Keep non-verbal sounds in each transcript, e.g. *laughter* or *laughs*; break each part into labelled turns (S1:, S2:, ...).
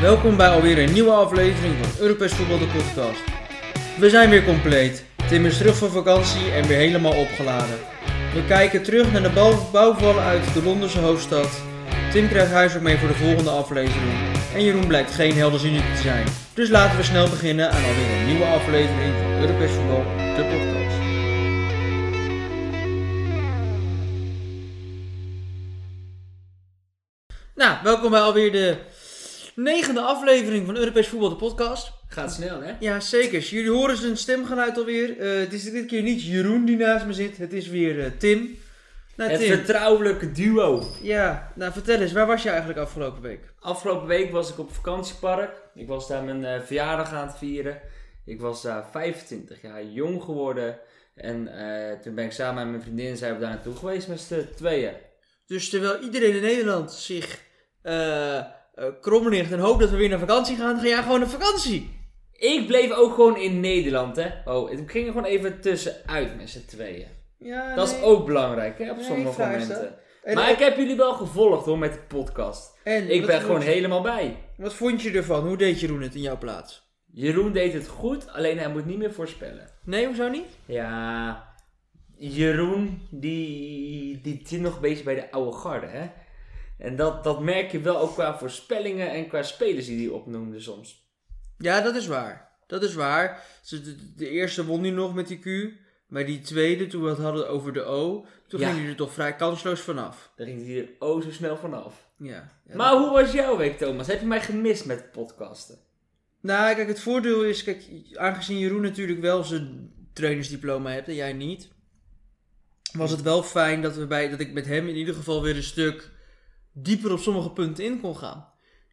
S1: Welkom bij alweer een nieuwe aflevering van Europees Voetbal de Podcast. We zijn weer compleet. Tim is terug van vakantie en weer helemaal opgeladen. We kijken terug naar de bouw- bouwvallen uit de Londense hoofdstad. Tim krijgt huiswerk mee voor de volgende aflevering. En Jeroen blijkt geen helderzinnig te zijn. Dus laten we snel beginnen aan alweer een nieuwe aflevering van Europees Voetbal de Podcast. Nou, welkom bij alweer de negende aflevering van Europees Voetbal, de podcast.
S2: Gaat snel, hè?
S1: Ja, zeker. Jullie horen zijn stemgeluid alweer. Eh, het is dit keer niet Jeroen die naast me zit. Het is weer eh, Tim. Nou,
S2: Het
S1: Tim.
S2: vertrouwelijke duo.
S1: Ja, nou vertel eens. Waar was je eigenlijk afgelopen week?
S2: Afgelopen week was ik op vakantiepark. Ik was daar mijn eh, verjaardag aan het vieren. Ik was daar 25 jaar jong geworden. En eh, toen ben ik samen met mijn vriendin zijn we daar naartoe geweest met z'n tweeën.
S1: Dus terwijl iedereen in Nederland zich eh eh, krom ligt en hoopt dat we weer naar vakantie gaan, ga jij gewoon op vakantie.
S2: Ik bleef ook gewoon in Nederland, hè? Oh, ik ging er gewoon even tussenuit met z'n tweeën.
S1: Ja,
S2: Dat is ook belangrijk, hè? Op
S1: Nee,
S2: sommige
S1: vraag is dat.
S2: momenten.
S1: En,
S2: Maar ik heb jullie wel gevolgd, hoor, met de podcast.
S1: en
S2: Ik
S1: wat
S2: ben
S1: vond-
S2: gewoon helemaal bij.
S1: Wat vond je ervan? Hoe deed Jeroen het in jouw plaats?
S2: Jeroen deed het goed, alleen hij moet niet meer voorspellen.
S1: Nee, hoezo niet?
S2: Ja, Jeroen, die, die zit nog een beetje bij de oude garde, hè? En dat, dat merk je wel ook qua voorspellingen en qua spelers die hij opnoemde soms.
S1: Ja, dat is waar. Dat is waar. Ze- De, de eerste won hij nog met die Q. Maar die tweede, toen we het hadden over de O, toen
S2: Ja.
S1: ging hij er toch vrij kansloos vanaf.
S2: Daar ging hij er oh zo snel vanaf.
S1: Ja. ja
S2: Maar
S1: dat-
S2: hoe was jouw week, Thomas? Heb je mij gemist met podcasten?
S1: Nou, kijk, het voordeel is, kijk, aangezien Jeroen natuurlijk wel zijn trainersdiploma hebt en jij niet, was het wel fijn dat, we bij, dat ik met hem in ieder geval weer een stuk dieper op sommige punten in kon gaan.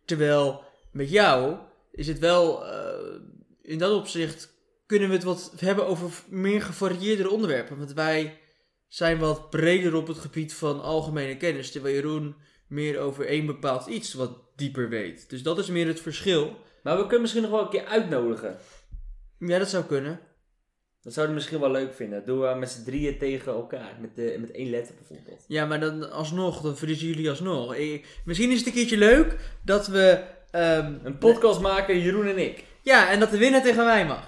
S1: Terwijl met jou is het wel, eh, in dat opzicht kunnen we het wat hebben over meer gevarieerdere onderwerpen. Want wij zijn wat breder op het gebied van algemene kennis, terwijl Jeroen meer over één bepaald iets wat dieper weet. Dus dat is meer het verschil.
S2: Maar we kunnen misschien nog wel een keer uitnodigen.
S1: Ja, dat zou kunnen.
S2: Dat zouden we misschien wel leuk vinden. Doen we met z'n drieën tegen elkaar. Met, de, met één letter bijvoorbeeld.
S1: Ja, maar dan alsnog, dan verliezen jullie alsnog. Ik- misschien is het een keertje leuk dat we. ehm,
S2: Een podcast maken, Jeroen en ik.
S1: Ja, en dat de winnaar tegen mij mag.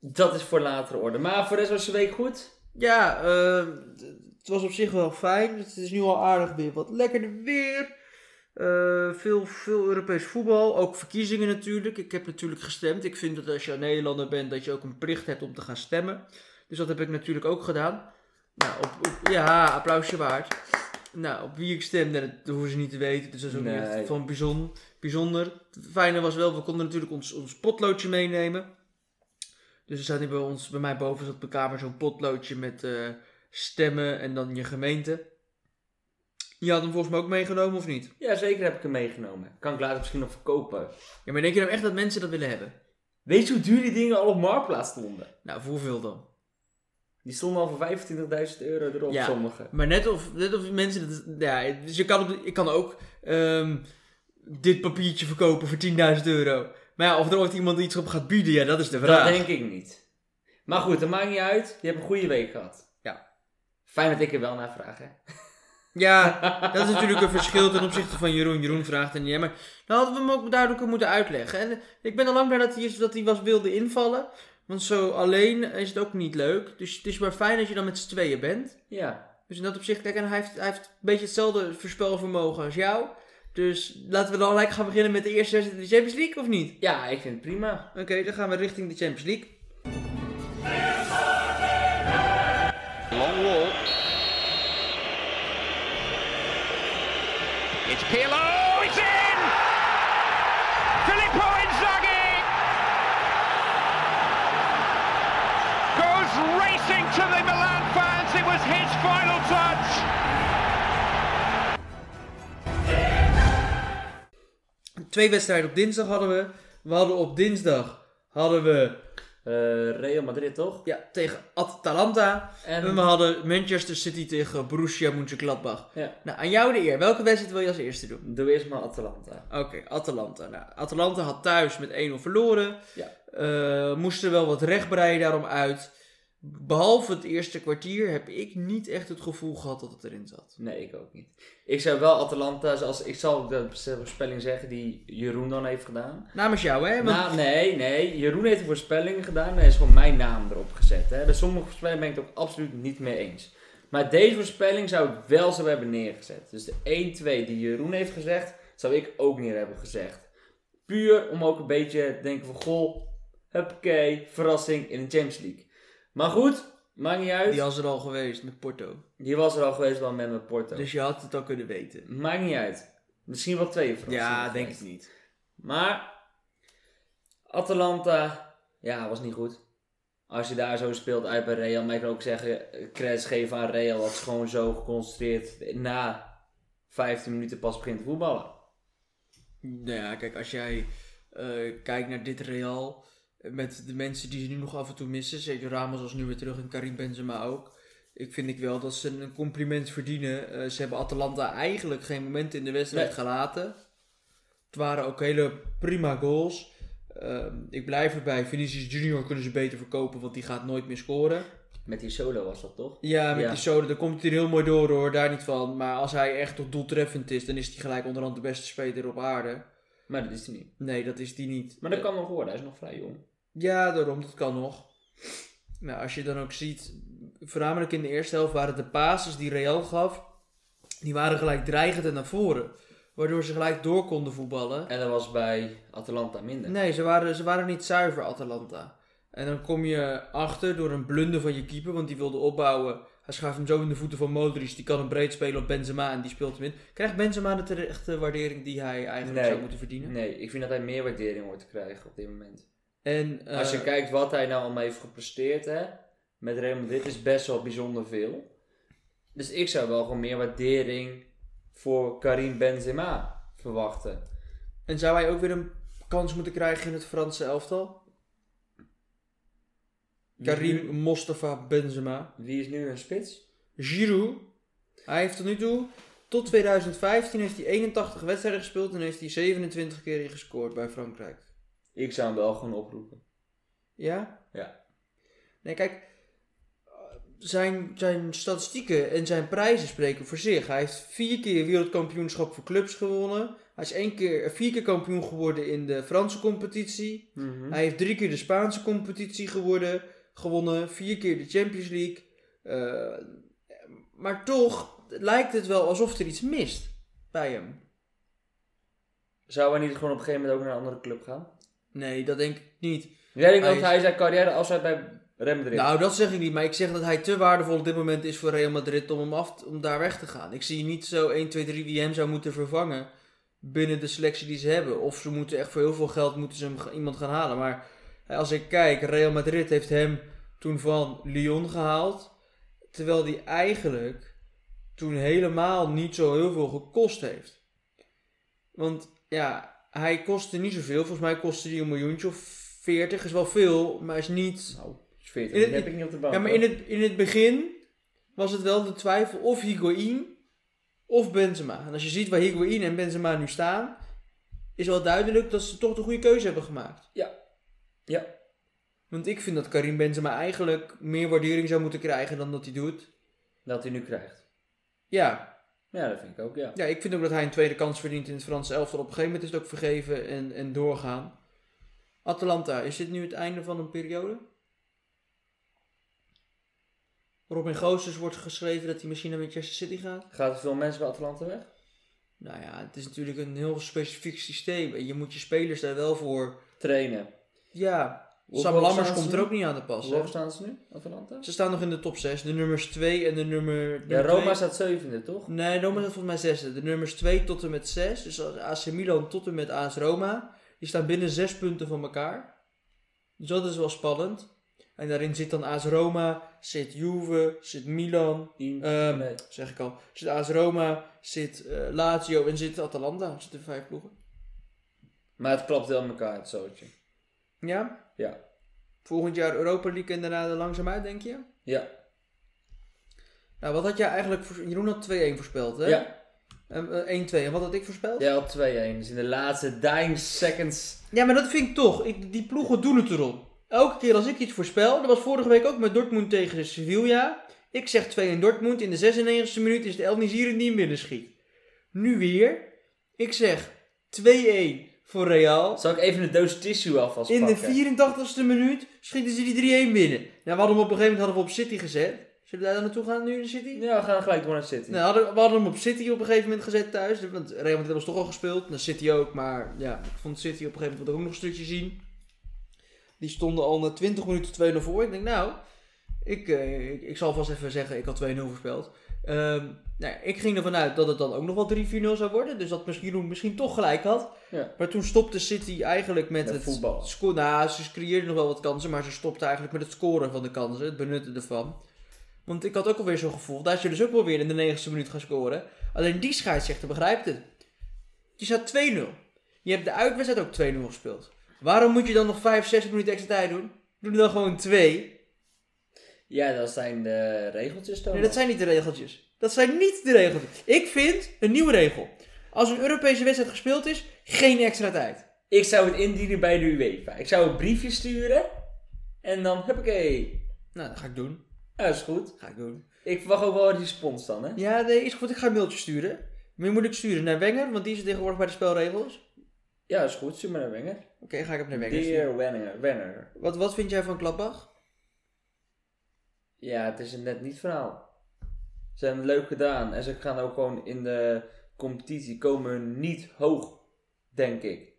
S2: Dat is voor latere orde. Maar voor de rest was je week goed?
S1: Ja, ehm, d- het was op zich wel fijn. Het is nu al aardig weer wat lekkerder weer. Eh, veel, veel Europees voetbal. Ook verkiezingen natuurlijk. Ik heb natuurlijk gestemd. Ik vind dat als je een Nederlander bent, dat je ook een plicht hebt om te gaan stemmen. Dus dat heb ik natuurlijk ook gedaan. Nou, op, op- ja, applausje waard. Nou, op wie ik stemde, dat hoeven ze niet te weten. Dus dat is ook niet
S2: Nee.
S1: echt van bijzon, bijzonder. Het fijne was wel, we konden natuurlijk ons, ons potloodje meenemen. Dus er staat hier bij ons, bij mij boven zat op de kamer zo'n potloodje met eh, stemmen en dan je gemeente. Je had hem volgens mij ook meegenomen of niet?
S2: Ja, zeker heb ik hem meegenomen. Kan ik later misschien nog verkopen.
S1: Ja, maar denk je nou echt dat mensen dat willen hebben?
S2: Weet je hoe duur die dingen al op Marktplaats stonden?
S1: Nou, voor hoeveel dan?
S2: Die stonden al voor 25.000 euro erop,
S1: Ja.
S2: sommige.
S1: Maar net of, net of mensen... Dat, ja, dus je kan, op de- ik kan ook ehm, dit papiertje verkopen voor 10.000 euro. Maar ja, of er ooit iemand iets op gaat bieden, ja, dat is de vraag.
S2: Dat denk ik niet. Maar goed, dat maakt niet uit. Je hebt een goede week gehad.
S1: Ja.
S2: Fijn dat ik er wel naar vraag, hè?
S1: Ja, dat is natuurlijk een verschil ten opzichte van Jeroen. Jeroen vraagt en ja, maar dan hadden we hem ook duidelijker moeten uitleggen. En eh, ik ben al lang blij dat hij, is, dat hij was wilde invallen. Want zo alleen is het ook niet leuk. Dus het is maar fijn dat je dan met z'n tweeën bent.
S2: Ja.
S1: Dus in dat opzicht, kijk, en hij heeft, hij heeft een beetje hetzelfde voorspelvermogen als jou. Dus laten we dan gelijk gaan beginnen met de eerste wedstrijd in de Champions League, of niet?
S2: Ja, ik vind het prima.
S1: Oké, dan gaan we richting de Champions League.
S3: Long wall. It's Pirlo. It's in. Filippo Inzaghi goes racing to the Milan fans. It was his final touch.
S1: Twee wedstrijden op dinsdag hadden we. We hadden op dinsdag hadden we
S2: Eh, Real Madrid, toch?
S1: ja, tegen Atalanta.
S2: En-
S1: En we hadden Manchester City tegen Borussia Mönchengladbach.
S2: Ja.
S1: Nou, aan jou de eer. Welke wedstrijd wil je als eerste doen?
S2: Doe eerst maar Atalanta.
S1: Oké, Atalanta. Nou, Atalanta had thuis met 1-0 verloren.
S2: Ja.
S1: Eh, moesten wel wat recht breien daarom uit. behalve het eerste kwartier, heb ik niet echt het gevoel gehad dat het erin zat.
S2: Nee, ik ook niet. Ik zou wel Atalanta, zoals, ik zal de voorspelling zeggen die Jeroen dan heeft gedaan.
S1: Namens jou, hè? Want
S2: Nou, nee, nee. Jeroen heeft een voorspelling gedaan en er is gewoon mijn naam erop gezet. Hè. Bij sommige voorspellingen ben ik het ook absoluut niet mee eens. Maar deze voorspelling zou ik wel zo hebben neergezet. Dus de 1-2 die Jeroen heeft gezegd, zou ik ook neer hebben gezegd. Puur om ook een beetje te denken van, goh, huppakee, verrassing in de Champions League. Maar goed, maakt niet uit.
S1: die was er al geweest met Porto.
S2: Die was er al geweest wel met mijn Porto.
S1: Dus je had het al kunnen weten.
S2: Maakt niet uit. Misschien wel twee verrassingen.
S1: Ja, denk
S2: geweest.
S1: ik niet.
S2: Maar Atalanta, ja, was niet goed. Als je daar zo speelt uit bij Real, maar ik kan ook zeggen, eh, credits geven aan Real, dat ze gewoon zo geconcentreerd na 15 minuten pas begint te voetballen.
S1: Nou ja, kijk, als jij eh, kijkt naar dit Real, eh, met de mensen die ze nu nog af en toe missen, zeker Ramos als nu weer terug en Karim Benzema ook. Ik vind ik wel dat ze een compliment verdienen. Eh, ze hebben Atalanta eigenlijk geen moment in de wedstrijd
S2: Nee.
S1: gelaten. Het waren ook hele prima goals. Ehm, ik blijf erbij. Vinicius Junior kunnen ze beter verkopen, want die gaat nooit meer scoren.
S2: Met die solo was dat toch?
S1: Ja, met
S2: Ja.
S1: die Soda, daar komt hij er heel mooi door hoor, daar niet van. Maar als hij echt tot doeltreffend is, dan is hij gelijk onderhand de beste speler op aarde.
S2: Maar dat is hij niet.
S1: Nee, dat is die niet.
S2: Maar dat kan nog worden, hij is nog vrij jong.
S1: Ja, daarom, dat kan nog. Nou, als je dan ook ziet, voornamelijk in de eerste helft waren de passes die Real gaf, die waren gelijk dreigend en naar voren. Waardoor ze gelijk door konden voetballen.
S2: En dat was bij Atalanta minder.
S1: Nee, ze waren, ze waren niet zuiver, Atalanta. En dan kom je achter door een blunder van je keeper, want die wilde opbouwen. Hij schuift hem zo in de voeten van Modric, die kan hem breed spelen op Benzema en die speelt hem in. Krijgt Benzema de terechte waardering die hij eigenlijk
S2: Nee.
S1: zou moeten verdienen?
S2: Nee, ik vind dat hij meer waardering hoort te krijgen op dit moment.
S1: En, eh,
S2: Als je kijkt wat hij nou allemaal heeft gepresteerd, hè, met Real Madrid is best wel bijzonder veel. Dus ik zou wel gewoon meer waardering voor Karim Benzema verwachten.
S1: en zou hij ook weer een kans moeten krijgen in het Franse elftal? Karim Mostafa Benzema.
S2: Wie is nu een spits?
S1: Giroud, hij heeft tot nu toe, tot 2015 heeft hij 81 wedstrijden gespeeld en heeft hij 27 keer in gescoord bij Frankrijk.
S2: Ik zou hem wel gewoon oproepen.
S1: Ja?
S2: Ja.
S1: Nee, kijk, eh, zijn, zijn statistieken en zijn prijzen spreken voor zich. Hij heeft vier keer wereldkampioenschap voor clubs gewonnen. Hij is één keer, eh, vier keer kampioen geworden in de Franse competitie.
S2: Mhm.
S1: Hij heeft drie keer de Spaanse competitie geworden, gewonnen. Vier keer de Champions League. Eh, maar toch lijkt het wel alsof er iets mist bij hem.
S2: Zou hij niet gewoon op een gegeven moment ook naar een andere club gaan?
S1: Nee, dat denk ik niet.
S2: Ik denk
S1: Hij
S2: dat hij zijn carrière afsluit bij Real Madrid.
S1: Nou, dat zeg ik niet, maar ik zeg dat hij te waardevol op dit moment is voor Real Madrid om, hem af, te- om daar weg te gaan. Ik zie niet zo 1, 2, 3 wie hem zou moeten vervangen binnen de selectie die ze hebben. Of ze moeten echt voor heel veel geld moeten ze hem, ga- iemand gaan halen. Maar hè, als ik kijk, Real Madrid heeft hem toen van Lyon gehaald. Terwijl die eigenlijk toen helemaal niet zo heel veel gekost heeft. Want ja, hij kostte niet zoveel. Volgens mij kostte hij een miljoentje of 40. Is wel veel, maar is niet...
S2: Nou, is 40
S1: In het-
S2: die heb ik niet op de bank.
S1: Ja, maar in het, in het begin was het wel de twijfel of Higuain of Benzema. En als je ziet waar Higuain en Benzema nu staan, is wel duidelijk dat ze toch de goede keuze hebben gemaakt.
S2: Ja,
S1: Want ik vind dat Karim Benzema eigenlijk meer waardering zou moeten krijgen dan dat hij doet.
S2: dat hij nu krijgt.
S1: Ja,
S2: Ja, dat vind ik ook, ja.
S1: ja ik vind ook dat hij een tweede kans verdient in het Franse elftal. Op een gegeven moment is het ook vergeven en, en doorgaan. Atalanta, is dit nu het einde van een periode? Robin Goossens wordt geschreven dat hij misschien naar Manchester City gaat.
S2: Gaat er veel mensen bij Atalanta weg?
S1: Nou ja, het is natuurlijk een heel specifiek systeem. En je moet je spelers daar wel voor.
S2: Trainen.
S1: Ja,
S2: Hoe
S1: Sam
S2: hoog
S1: Lammers
S2: staan ze
S1: komt er
S2: nu?
S1: ook niet aan te pas.
S2: Hoe
S1: hè?
S2: hoog staan ze nu, Atalanta?
S1: Ze staan nog in de top 6. De nummers 2 en de nummer.
S2: Ja,
S1: nummer
S2: Roma
S1: twee- Mm,
S2: staat zevende, toch?
S1: Nee, Roma staat volgens mij 6. De nummers 2 tot en met 6. Dus als AC Milan tot en met AS Roma. Die staan binnen 6 punten van elkaar. Dus dat is wel spannend. En daarin zit dan AS Roma, zit Juve, zit Milan.
S2: Inter,
S1: Ehm,
S2: nee.
S1: Zeg ik al. Zit AS Roma, zit eh, Lazio en zit Atalanta. Er zitten vijf ploegen.
S2: Maar het klapt wel in elkaar, het zootje.
S1: Ja,
S2: Ja.
S1: Volgend jaar Europa League en daarna er langzaam uit, denk je?
S2: Ja.
S1: Nou, wat had jij eigenlijk... Voor... Jeroen had 2-1 voorspeld, hè?
S2: Ja.
S1: En, eh, 1-2. En wat had ik voorspeld?
S2: Jij had 2-1. Dus in de laatste dying seconds.
S1: Ja, maar dat vind ik toch. Ik, die ploegen doen het erom. Elke keer als ik iets voorspel, dat was vorige week ook met Dortmund tegen Sevilla. Ik zeg 2 in Dortmund, in de 96e minuut is de Elnizieren die hem binnenschiet. Nu weer. Ik zeg 2-1 voor Real.
S2: Zal ik even een doos tissue alvast
S1: In de
S2: pakken?
S1: 84e minuut schieten ze die 3-1 binnen. Nou, we hadden hem op een gegeven moment hadden we op City gezet. Zullen we daar dan naartoe gaan nu in de City?
S2: Ja, we gaan gelijk door naar City.
S1: Nou, hadden, we hadden hem op City op een gegeven moment gezet thuis. Want Real Madrid was toch al gespeeld. Nou, City ook. Maar ja, ik vond City op een gegeven moment wilde ik ook nog een stukje zien. Die stonden al na 20 minuten 2-0 voor. Ik denk, nou, ik, eh, ik, ik zal vast even zeggen, ik had 2-0 voorspeld. Ehm, nou, ja, ik ging ervan uit dat het dan ook nog wel 3-4-0 zou worden. Dus dat misschien, misschien toch gelijk had.
S2: Ja.
S1: Maar toen stopte City eigenlijk met
S2: Met
S1: het
S2: voetbal.
S1: sco- Nou, ze creëerden nog wel wat kansen, maar ze stopte eigenlijk met het scoren van de kansen, het benutten ervan. Want ik had ook alweer zo'n gevoel, daar zullen ze ook wel weer in de 90ste minuut gaan scoren. Alleen die scheidsrechter begrijpt het. Je staat 2-0. Je hebt de uitwedstrijd ook 2-0 gespeeld. Waarom moet je dan nog 5, 6 minuten extra tijd doen? Doe er dan gewoon 2.
S2: Ja, dat zijn de regeltjes dan.
S1: Nee, dat zijn niet de regeltjes. Dat zijn niet de regeltjes. Ik vind een nieuwe regel. Als een Europese wedstrijd gespeeld is, geen extra tijd.
S2: Ik zou het indienen bij de UEFA. Ik zou een briefje sturen. En dan, huppakee.
S1: Nou, dat ga ik doen.
S2: Ja, is goed.
S1: Dat ga ik doen.
S2: Ik verwacht ook wel een respons dan, hè?
S1: Ja, nee, is goed. Ik ga een mailtje sturen. Wie moet ik sturen? Naar Wenger, want die is tegenwoordig bij de spelregels. Oké,
S2: Ja, is goed. Stuur maar naar Wenger.
S1: ga ik hem naar Wenger sturen.
S2: Dear Wenger. Wenger.
S1: Wat, wat vind jij van Gladbach?
S2: Ja, het is een net niet verhaal. Ze hebben het leuk gedaan. En ze gaan ook gewoon in de competitie komen niet hoog, denk ik.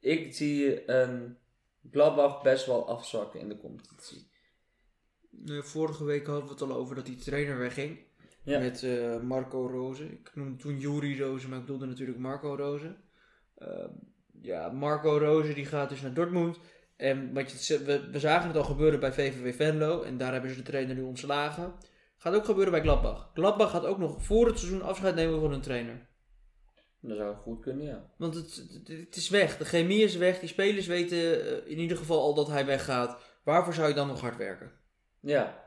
S2: Ik zie een Gladbach best wel afzakken in de competitie.
S1: Nee, Eh, vorige week hadden we het al over dat die trainer wegging.
S2: Ja.
S1: Met eh, Marco Rozen. Ik noemde toen Juri Rozen, maar ik bedoelde natuurlijk Marco Rozen. Ehm, ja, Marco Rozen die gaat dus naar Dortmund. En wat je, ze- we, we zagen het al gebeuren bij VVV Venlo. En daar hebben ze de trainer nu ontslagen. Gaat ook gebeuren bij Gladbach. Gladbach gaat ook nog voor het seizoen afscheid nemen van hun trainer.
S2: Dat zou goed kunnen, ja.
S1: Want het, het- het is weg. De chemie is weg. Die spelers weten eh, in ieder geval al dat hij weggaat. Waarvoor zou je dan nog hard werken?
S2: Ja.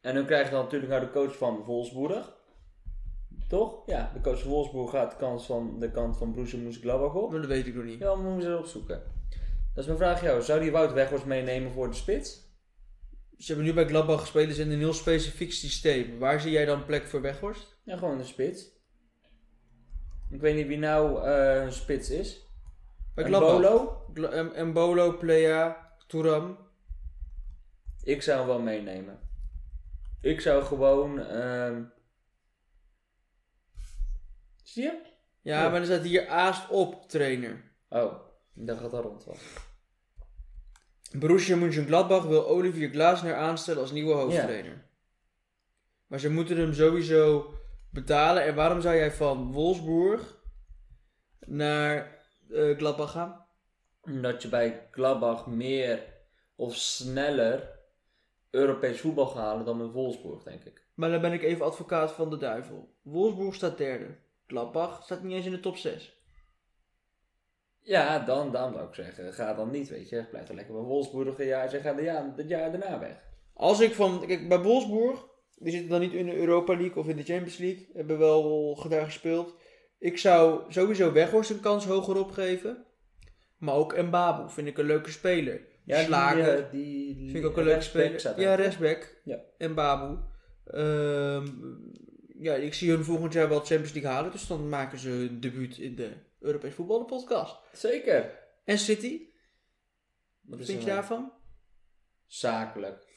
S2: En dan krijg je dan natuurlijk nou de coach van Wolfsburg. Toch? Ja, de coach van Wolfsburg gaat de kant van, de kant van Borussia Mönchengladbach op.
S1: Maar dat weet ik nog niet.
S2: Ja, maar moeten ze dat opzoeken. Dat is mijn vraag aan jou. Zou die Wout Weghorst meenemen voor de spits?
S1: Ze hebben nu bij Gladbach gespeeld in een heel specifiek systeem. Waar zie jij dan plek voor Weghorst?
S2: Ja, gewoon de spits. Ik weet niet wie nou eh, een spits is.
S1: Bij
S2: Een
S1: Gladbach.
S2: Bolo?
S1: Gla- em- Embolo, Plea, Touram.
S2: Ik zou hem wel meenemen. Ik zou gewoon... ehm, Zie je?
S1: Ja,
S2: Ja.
S1: maar er staat hier Aast op trainer.
S2: Oh, ik dacht dat dat rond was.
S1: Borussia Mönchengladbach wil Olivier Glasner aanstellen als nieuwe hoofdtrainer. Maar ze moeten hem sowieso betalen. En waarom zou jij van Wolfsburg naar eh Gladbach gaan?
S2: Omdat je bij Gladbach meer of sneller Europees voetbal gaat halen dan met Wolfsburg, denk ik.
S1: Maar dan ben ik even advocaat van de duivel. Wolfsburg staat derde. Gladbach staat niet eens in de top 6.
S2: Ja, dan, dan zou ik zeggen, ga dan niet, weet je. Blijf dan lekker bij Wolfsburg een jaar en zeg, ga de jaar, het jaar daarna weg.
S1: Als ik van... Kijk, bij Wolfsburg... Die zitten dan niet in de Europa League of in de Champions League. Hebben wel daar gespeeld. Ik zou sowieso Weghorst een kans hoger opgeven. Maar ook Mbabu vind ik een leuke speler.
S2: Ja,
S1: Slager.
S2: Die, eh, die,
S1: vind ik ook een leuke
S2: rechtsback
S1: speler.
S2: staat
S1: Ja,
S2: er.
S1: rechtsback.
S2: Ja.
S1: Mbabu. Ehm, ja, ik zie hun volgend jaar wel Champions League halen. Dus dan maken ze hun debuut in de Europees Voetballen podcast.
S2: Zeker.
S1: En City?
S2: Wat
S1: Wat
S2: is
S1: vind je
S2: er nou?
S1: daarvan?
S2: Zakelijk.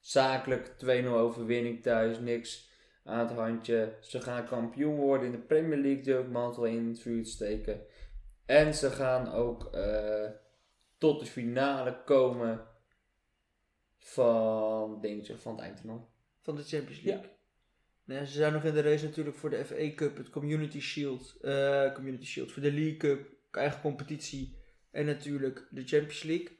S2: Zakelijk, 2-0 overwinning thuis, niks aan het handje. Ze gaan kampioen worden in de Premier League, durf ik mantel in het vuur te steken. En ze gaan ook eh, tot de finale komen van, denk je, van het eindtoernooi.
S1: Van de Champions
S2: Ja.
S1: League? Nou ja, ze zijn nog in de race natuurlijk voor de FA Cup, het Community Shield, eh, Community Shield voor de League Cup, eigen competitie en natuurlijk de Champions League.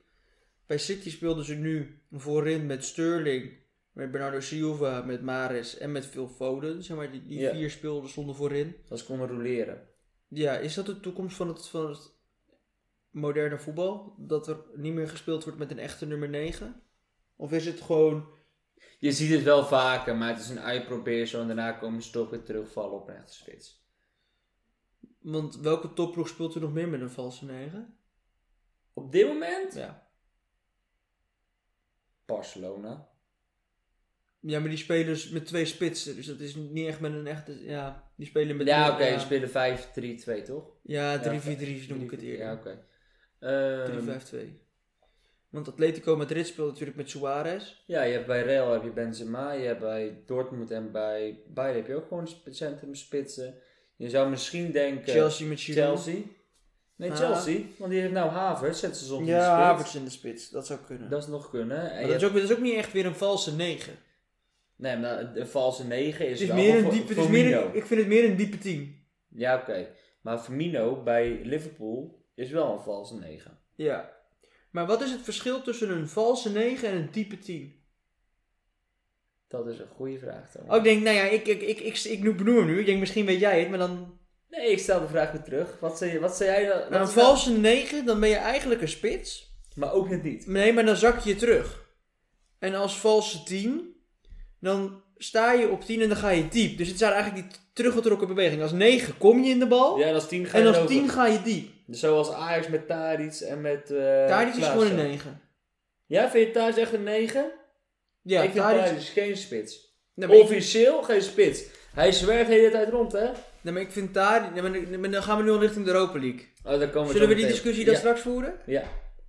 S1: Bij City speelden ze nu voorin met Sterling, met Bernardo Silva, met Mares en met Phil Foden. Zeg maar, die, die
S2: Ja.
S1: vier speelden stonden voorin.
S2: Dat ze konden roleren.
S1: Ja, is dat de toekomst van het, van het moderne voetbal? Dat er niet meer gespeeld wordt met een echte nummer 9? Of is het gewoon
S2: Je ziet het wel vaker, maar het is een uitprobeersel en daarna komen ze toch weer terugvallen op een echte spits.
S1: Want welke topploeg speelt er nog meer met een valse negen?
S2: Op dit moment?
S1: Ja.
S2: Barcelona.
S1: Ja, maar die spelers met twee spitsen. Dus dat is niet echt met een echte... Ja, die spelen met...
S2: Ja, oké,
S1: ja,
S2: ze spelen 5-3-2 toch?
S1: Ja, 3-4-3
S2: Ja,
S1: noem ik het eerder.
S2: Ja, oké. Ehm,
S1: 3-5-2. Want Atletico Madrid speelt natuurlijk met Suarez.
S2: ja, je hebt bij Real heb je Benzema, je hebt bij Dortmund en bij Bayern heb je ook gewoon sp- centrumspitsen. Je zou misschien denken
S1: Chelsea met Giroud.
S2: Chelsea. Nee,
S1: Ah.
S2: Chelsea, want die heeft nou Havertz, zetten ze soms in de
S1: Ja,
S2: spits.
S1: Havertz in de spits. Dat zou kunnen.
S2: Dat is nog kunnen. En
S1: maar
S2: je
S1: dat, is ook, dat is ook niet echt weer een valse 9.
S2: Nee, maar een valse 9 is,
S1: Het is
S2: wel
S1: meer
S2: Fa-
S1: een diepe... Het is meer
S2: Firmino.
S1: een, ik vind het meer een diepe 10.
S2: Ja, oké. Maar Firmino bij Liverpool is wel een valse 9.
S1: Ja. Maar wat is het verschil tussen een valse 9 en een diepe 10?
S2: Dat is een goede vraag, Thomas.
S1: Oh, ik denk, nou ja, ik, ik, ik, ik, ik noem- benoem hem nu. Ik denk, misschien weet jij het, maar dan...
S2: Nee, ik stel de vraag weer terug. Wat zei, wat zei jij? dan-
S1: Nou,
S2: wat
S1: een
S2: is nou-
S1: valse 9, dan ben je eigenlijk een spits.
S2: Maar ook net niet.
S1: Nee, maar dan zak je terug. En als valse 10, dan sta je op 10 en dan ga je diep. Dus het zijn eigenlijk die t- teruggetrokken bewegingen. Als 9 kom je in de bal.
S2: Ja, en als 10 ga je
S1: en als
S2: erover.
S1: 10 ga je diep.
S2: Dus Zoals Ajax met Tadic en met eh
S1: Daar is
S2: Klaassen.
S1: gewoon een 9.
S2: Ja, vind je Tadic echt een 9?
S1: Ja,
S2: ik vind
S1: Tadic-
S2: Tadic geen spits.
S1: Nee, maar ik-
S2: Officieel geen spits. Hij zwerft de hele tijd rond, hè?
S1: nee, maar ik vind Tadic... Nee, maar, nee, maar dan gaan we nu al richting de Europa League.
S2: Oh, daar komen we
S1: Zullen
S2: zo
S1: we die
S2: meteen op.
S1: discussie dan
S2: ja.
S1: straks voeren?
S2: Ja.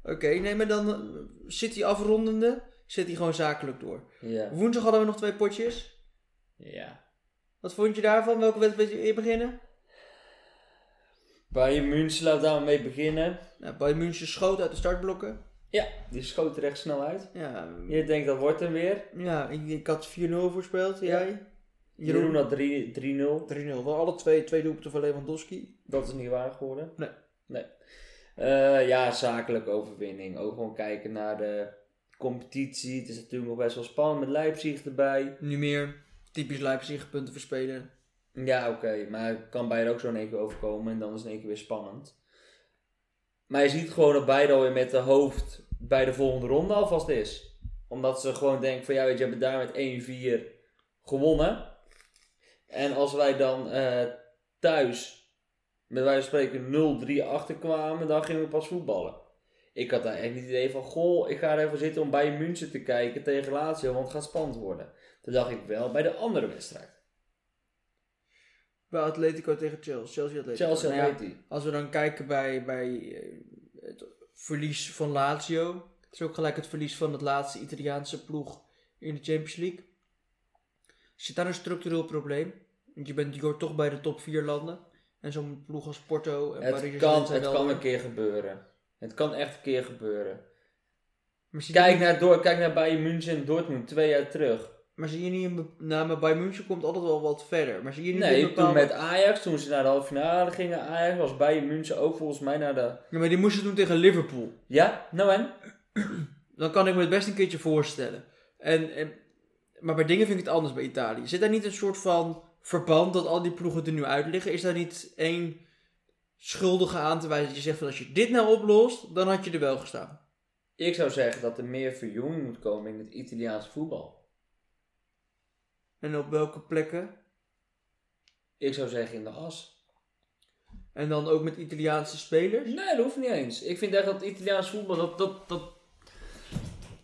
S1: Oké, nee, maar dan eh, zit die afrondende, zit die gewoon zakelijk door.
S2: Ja.
S1: Woensdag hadden we nog twee potjes.
S2: ja.
S1: Wat vond je daarvan? Welke wedstrijd wil je beginnen?
S2: Bayern München, laten we daarmee beginnen.
S1: Nou, Bayern München schoot uit de startblokken.
S2: Ja, die schoot er echt snel uit.
S1: Ja,
S2: Je denkt, dat wordt hem weer.
S1: Ja, ik, ik had 4-0 voorspeld, jij?
S2: Jeroen
S1: Jeroen
S2: had 3 3-0.
S1: 3-0. Wel alle twee, twee doelpunten van Lewandowski.
S2: Dat is niet waar geworden.
S1: Nee.
S2: Nee. Eh, ja, zakelijke overwinning. Ook gewoon kijken naar de competitie. Het is natuurlijk nog best wel spannend met Leipzig erbij.
S1: Nu meer typisch Leipzig, punten verspelen.
S2: Ja, oké. maar het kan Bayern ook zo in één keer overkomen. En dan is het in één keer weer spannend. Maar je ziet gewoon dat Bayern alweer met de hoofd bij de volgende ronde alvast is. Omdat ze gewoon denken van ja, weet je, we hebben daar met 1-4 gewonnen. En als wij dan eh, thuis met wijze van spreken 0-3 achterkwamen, dan gingen we pas voetballen. Ik had daar echt niet het idee van, goh, ik ga er even zitten om bij München te kijken tegen Lazio, want het gaat spannend worden. Dat dacht ik wel bij de andere wedstrijd.
S1: Bij Atletico tegen Chelsea. Chelsea Atletico.
S2: Chelsea
S1: Nou ja,
S2: weet die.
S1: Als we dan kijken bij, bij eh, het verlies van Lazio. Het is ook gelijk het verlies van het laatste Italiaanse ploeg in de Champions League. Zit daar een structureel probleem? Want je bent je hoort toch bij de top 4 landen. En zo'n ploeg als Porto en Paris
S2: Het
S1: Saint-Germain
S2: kan,
S1: zijn
S2: het
S1: wel
S2: kan
S1: weer-
S2: een keer gebeuren. Het kan echt een keer gebeuren.
S1: Maar zie je
S2: Kijk
S1: niet-
S2: naar, door, kijk naar Bayern München en Dortmund twee jaar terug.
S1: Maar zie je niet, een be- nou, maar bij München komt altijd wel wat verder. Maar zie je niet een
S2: Nee, toen
S1: bepaalde...
S2: met Ajax, toen ze naar de halve finale gingen, Ajax was Bayern München ook volgens mij naar de...
S1: Ja, maar die moesten toen tegen Liverpool.
S2: Ja, nou en?
S1: Dan kan ik me het best een keertje voorstellen. En, en, maar bij dingen vind ik het anders bij Italië. Zit daar niet een soort van verband dat al die ploegen er nu uit liggen? Is daar niet één schuldige aan te wijzen dat je zegt van als je dit nou oplost, dan had je er wel gestaan?
S2: Ik zou zeggen dat er meer verjonging moet komen in het Italiaanse voetbal.
S1: En op welke plekken?
S2: Ik zou zeggen in de as.
S1: En dan ook met Italiaanse spelers?
S2: Nee, dat hoeft niet eens. Ik vind echt dat Italiaans voetbal, dat, dat, dat,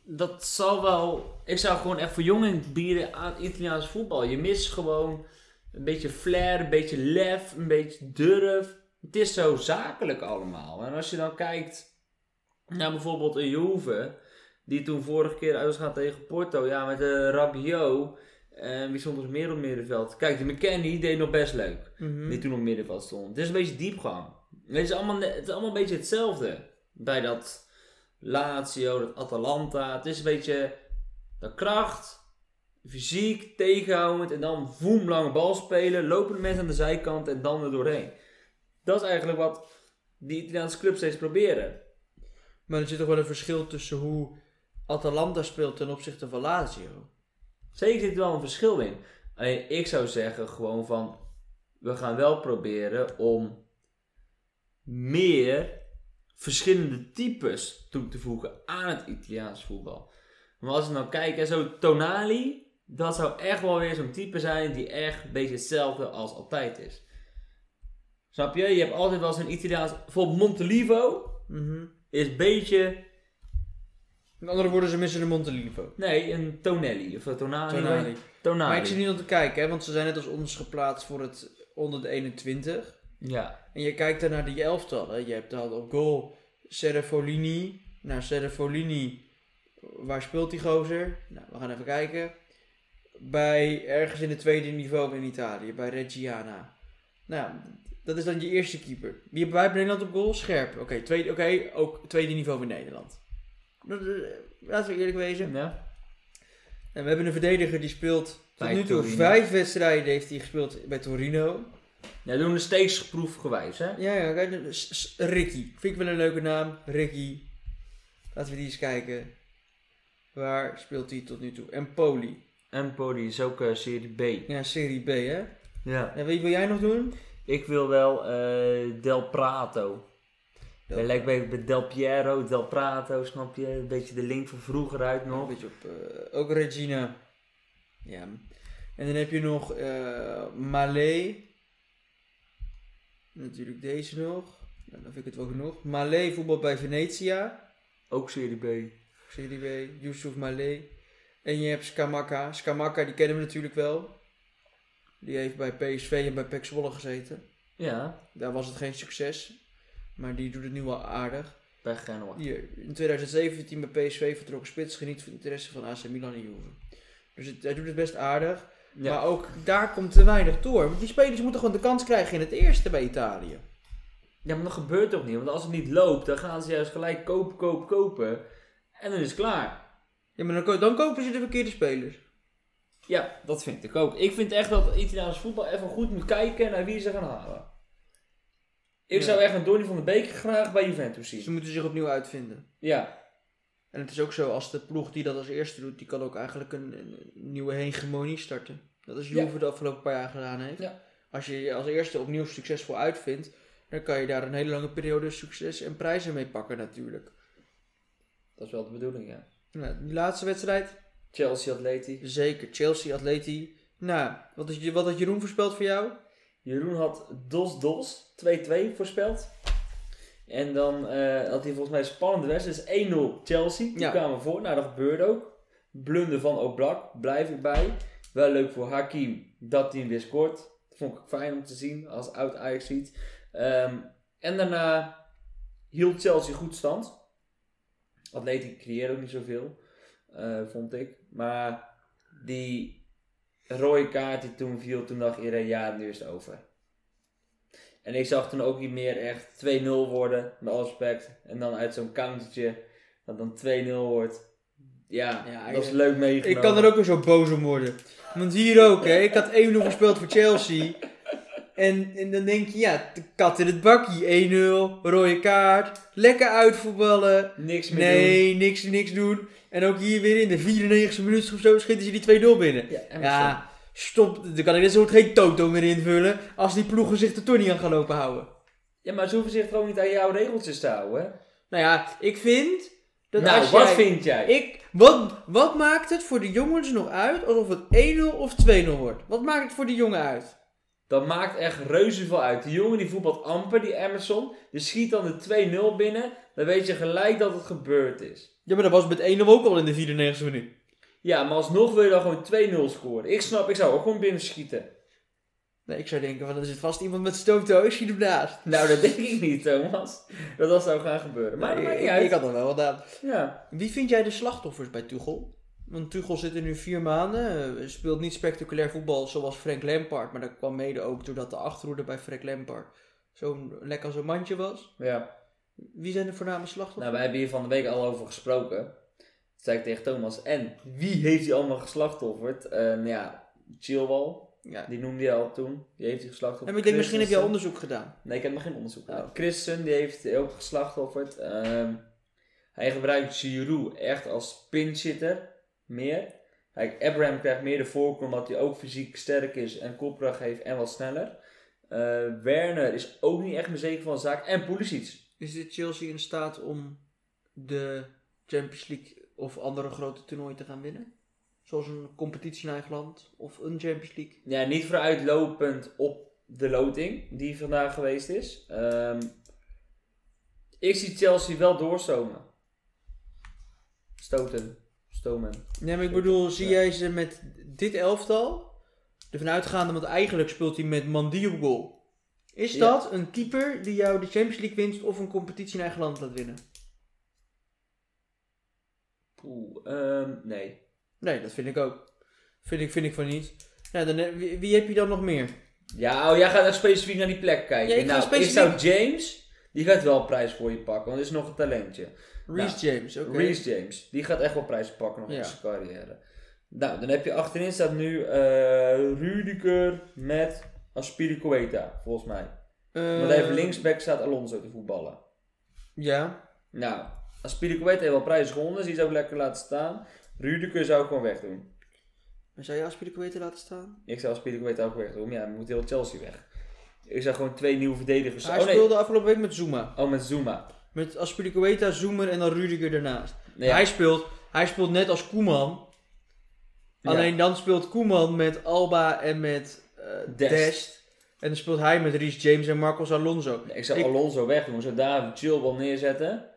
S2: dat zal wel... Ik zou gewoon echt verjonging bieden aan Italiaans voetbal. Je mist gewoon een beetje flair, een beetje lef, een beetje durf. Het is zo zakelijk allemaal. En als je dan kijkt naar bijvoorbeeld een Juve, die toen vorige keer uit was gaan tegen Porto. Ja, met de Rabiot. En wie Ehm, stond er meer op middenveld? Kijk, die McKennie deed nog best leuk.
S1: Mhm.
S2: Die toen op middenveld stond. Het is een beetje diepgang. Het is allemaal, ne- het is allemaal een beetje hetzelfde. Bij dat Lazio, dat Atalanta. Het is een beetje de kracht, fysiek, tegenhoudend. En dan voem, lange bal spelen. Lopende mensen aan de zijkant en dan er doorheen. Dat is eigenlijk wat die Italiaanse clubs steeds proberen.
S1: Maar er zit toch wel een verschil tussen hoe Atalanta speelt ten opzichte van Lazio.
S2: Zeker zit er wel een verschil in. Alleen ik zou zeggen gewoon van... We gaan wel proberen om meer verschillende types toe te voegen aan het Italiaans voetbal. Maar als we nou kijken, zo Tonali, dat zou echt wel weer zo'n type zijn die echt een beetje hetzelfde als altijd is. Snap je? Je hebt altijd wel zo'n Italiaans... Bijvoorbeeld Montelivo
S1: Mhm.
S2: is een beetje
S1: In Mhm. andere woorden, ze missen de Montelinvo.
S2: Nee, een Tonelli of een Tonali.
S1: Tonali.
S2: Tonali.
S1: Maar ik zit niet om te kijken, hè, want ze zijn net als ons geplaatst voor het onder de 21.
S2: Ja.
S1: En je kijkt dan naar die elftallen. Je hebt dan op goal Serrafolini. Nou, Serrafolini, waar speelt die gozer? Nou, we gaan even kijken. Bij ergens in het tweede niveau in Italië, bij Reggiana. Nou, dat is dan je eerste keeper. Wie hebben wij bij Nederland op goal? Scherp. Oké, tweede, oké, ook tweede niveau in Nederland. Dat is- Laten we eerlijk wezen.
S2: ja.
S1: En we hebben een verdediger die speelt tot
S2: Bij
S1: nu toe
S2: Torino.
S1: vijf wedstrijden heeft hij gespeeld bij Torino.
S2: Ja, doen we steeds proefgewijs, hè?
S1: Ja, ja, kijk, dat is- is Ricky. Vind ik wel een leuke naam, Ricky. Laten we die eens kijken. Waar speelt hij tot nu toe? En Poli.
S2: Empoli is ook eh, serie B.
S1: Ja, Serie B, hè?
S2: Ja.
S1: En wie wil jij nog doen?
S2: Ik wil wel eh, Del Prato. Hij lijkt bij bij Del Piero, Del Prato, snap je? Een beetje de link van vroeger uit
S1: Een
S2: nog.
S1: beetje op, eh, ook Regina. Ja. En dan heb je nog eh Malé. Natuurlijk deze nog. Nou, dan vind ik het wel genoeg. Malé voetbal bij Venetia.
S2: Ook serie B.
S1: Serie B, Yusuf Malé. En je hebt Skamaka. Skamaka, die kennen we natuurlijk wel. Die heeft bij PSV en bij PEC Zwolle gezeten.
S2: Ja,
S1: Daar was het geen succes. Maar die doet het nu wel aardig.
S2: bij Genoa.
S1: Hier, in 2017 bij PSV vertrokken spits. Geniet van interesse van AC Milan en Juve. Dus het, hij doet het best aardig.
S2: Ja.
S1: Maar ook daar komt te weinig door. Want die spelers moeten gewoon de kans krijgen in het eerste bij Italië.
S2: ja, maar dat gebeurt toch niet? Want als het niet loopt, dan gaan ze juist gelijk kopen, kopen, kopen. En dan is het klaar.
S1: Ja, maar dan, ko- dan kopen ze de verkeerde spelers.
S2: Ja, dat vind ik ook. Ik vind echt dat Italiaans voetbal even goed moet kijken naar wie ze gaan halen. Ik
S1: Ja.
S2: zou echt een Donny van der Beek graag bij Juventus
S1: Ze
S2: zien.
S1: moeten zich opnieuw uitvinden.
S2: Ja,
S1: En het is ook zo, als de ploeg die dat als eerste doet, die kan ook eigenlijk een, een nieuwe hegemonie starten. Dat is Juve
S2: Ja.
S1: de afgelopen paar jaar gedaan heeft.
S2: Ja.
S1: Als je je als eerste opnieuw succesvol uitvindt, dan kan je daar een hele lange periode succes en prijzen mee pakken natuurlijk.
S2: dat is wel de bedoeling, ja.
S1: Nou, die laatste wedstrijd,
S2: Chelsea Atleti.
S1: zeker Chelsea, Atleti. Nou, wat, is, wat had Jeroen voorspeld voor jou?
S2: Jeroen had Dos Dos 2-2 voorspeld. En dan eh, had hij volgens mij een spannende wedstrijd. Dus 1-0 Chelsea. Die
S1: Ja.
S2: kwamen voor. Nou, dat gebeurde ook. Blunder van Oblak. Blijf ik bij. Wel leuk voor Hakim dat hij weer scoort. Dat vond ik fijn om te zien als oud Ajax ziet. en daarna hield Chelsea goed stand. Atleti creëerde ook niet zoveel, eh, vond ik. Maar die rode kaart die toen viel, toen dacht iedereen, ja, nu is het over. En ik zag toen ook niet meer echt 2-0 worden, met alle respect. En dan uit zo'n countertje, dat dan 2-0 wordt. Ja,
S1: Ja,
S2: dat is
S1: ik-
S2: leuk meegenomen.
S1: Ik kan er ook weer zo boos om worden. Want hier ook, hè. Ik had 1-0 gespeeld voor Chelsea. En, en dan denk je, ja, de kat in het bakkie. 1-0, rode kaart. Lekker uitvoetballen.
S2: niks meer doen.
S1: Nee, niks, niks doen. En ook hier weer in de 94e minuut of zo schieten ze die 2-0 binnen.
S2: Ja, en zo.
S1: Ja, stop. Dan kan ik net zo goed geen toto meer invullen. Als die ploegen zich er toch niet aan gaan lopen houden.
S2: ja, maar ze hoeven zich gewoon niet aan jouw regeltjes te houden. hè?
S1: Nou ja, ik vind... Dat
S2: nou,
S1: als
S2: wat
S1: jij-
S2: vind jij?
S1: Ik, wat, wat maakt het voor de jongens nog uit alsof het 1-0 of 2-0 wordt? Wat maakt het voor de jongen uit?
S2: Dat maakt echt reuze veel uit. Die jongen die voetbalt amper, die Emerson. Die schiet dan de 2-0 binnen. Dan weet je gelijk dat het gebeurd is.
S1: Ja, maar dat was met 1-0 ook al in de 94e minuut.
S2: Ja, maar alsnog wil je dan gewoon 2-0 scoren. Ik snap, ik zou ook gewoon binnen schieten. *laughs*
S1: Nee, ik zou denken, van, er zit vast iemand met stoomtooi, schiet hem naast.
S2: Nou, dat denk ik niet, Thomas. Dat dat zou gaan gebeuren. Maar dat maakt niet
S1: ik,
S2: uit.
S1: ik had dat wel gedaan.
S2: Ja.
S1: Wie vind jij de slachtoffers bij Tuchel? Want Tuchel zit er nu vier maanden, eh, speelt niet spectaculair voetbal zoals Frank Lampard. Maar dat kwam mede ook doordat de achterhoede bij Frank Lampard zo'n lekker als een mandje was.
S2: ja.
S1: Wie zijn de voorname slachtoffers?
S2: Nou, wij hebben hier van de week al over gesproken. Toen zei ik tegen Thomas. En wie heeft hij allemaal geslachtofferd? Eh, nou ja, Chilwell.
S1: ja.
S2: Die noemde je al toen. Die heeft hij geslachtofferd.
S1: En ik denk, misschien heb jij
S2: Christensen.
S1: onderzoek gedaan.
S2: Nee, ik heb nog geen onderzoek gedaan.
S1: Oh.
S2: Christen, die heeft ook geslachtofferd. Ehm, hij gebruikt Giroud echt als pinchitter. Meer. Kijk, Abraham krijgt meer de voorkeur omdat hij ook fysiek sterk is en kopkracht heeft en wat sneller. Eh, Werner is ook niet echt meer zeker van de zaak. En Pulisic.
S1: Is dit Chelsea in staat om de Champions League of andere grote toernooien te gaan winnen? Zoals een competitie in eigen land of een Champions League?
S2: Ja, niet vooruitlopend op de loting die vandaag geweest is. Ehm, ik zie Chelsea wel doorstomen. Stoten. Stomen.
S1: Nee, maar ik bedoel, zie jij ze met dit elftal? Ervan uitgaande, want eigenlijk speelt hij met Mandy op goal. Is
S2: Ja.
S1: dat een keeper die jou de Champions League winst of een competitie in eigen land laat winnen?
S2: Poeh, ehm, nee.
S1: Nee, dat vind ik ook. Vind ik, vind ik van niet. Nou, dan, heb- wie, wie heb je dan nog meer?
S2: Ja, oh, jij gaat echt specifiek naar die plek kijken.
S1: Ja, ik ga
S2: nou,
S1: specifiek-
S2: ik zou James, die gaat wel prijs voor je pakken, want dat is nog een talentje.
S1: Reece James, oké.
S2: Reece James, die gaat echt wel prijs pakken nog
S1: Ja.
S2: in zijn carrière. Nou, dan heb je achterin staat nu eh Rudiger met Aspilicueta, volgens mij.
S1: Eh,
S2: Want even linksback staat Alonso te voetballen.
S1: Ja.
S2: Nou, Aspilicueta heeft wel prijzen gewonnen, dus die zou ik lekker laten staan. Rudiger zou ik gewoon wegdoen.
S1: Maar zou je Aspilicueta laten staan?
S2: Ik zou Aspilicueta ook wegdoen, maar ja, dan moet heel Chelsea weg. Ik zou gewoon twee nieuwe verdedigers...
S1: Hij
S2: oh nee,
S1: speelde afgelopen week met Zuma.
S2: oh met Zuma.
S1: Met Aspilicueta, Zoomer en dan Rudiger daarnaast.
S2: Nee, ja.
S1: Hij, speelt, hij speelt net als Koeman.
S2: Ja.
S1: Alleen dan speelt Koeman met Alba en met eh, Dest.
S2: Dest.
S1: En dan speelt hij met Reece James en Marcos Alonso.
S2: Ik zou
S1: Ik-
S2: Alonso wegdoen. Ik zou David Chilwell neerzetten.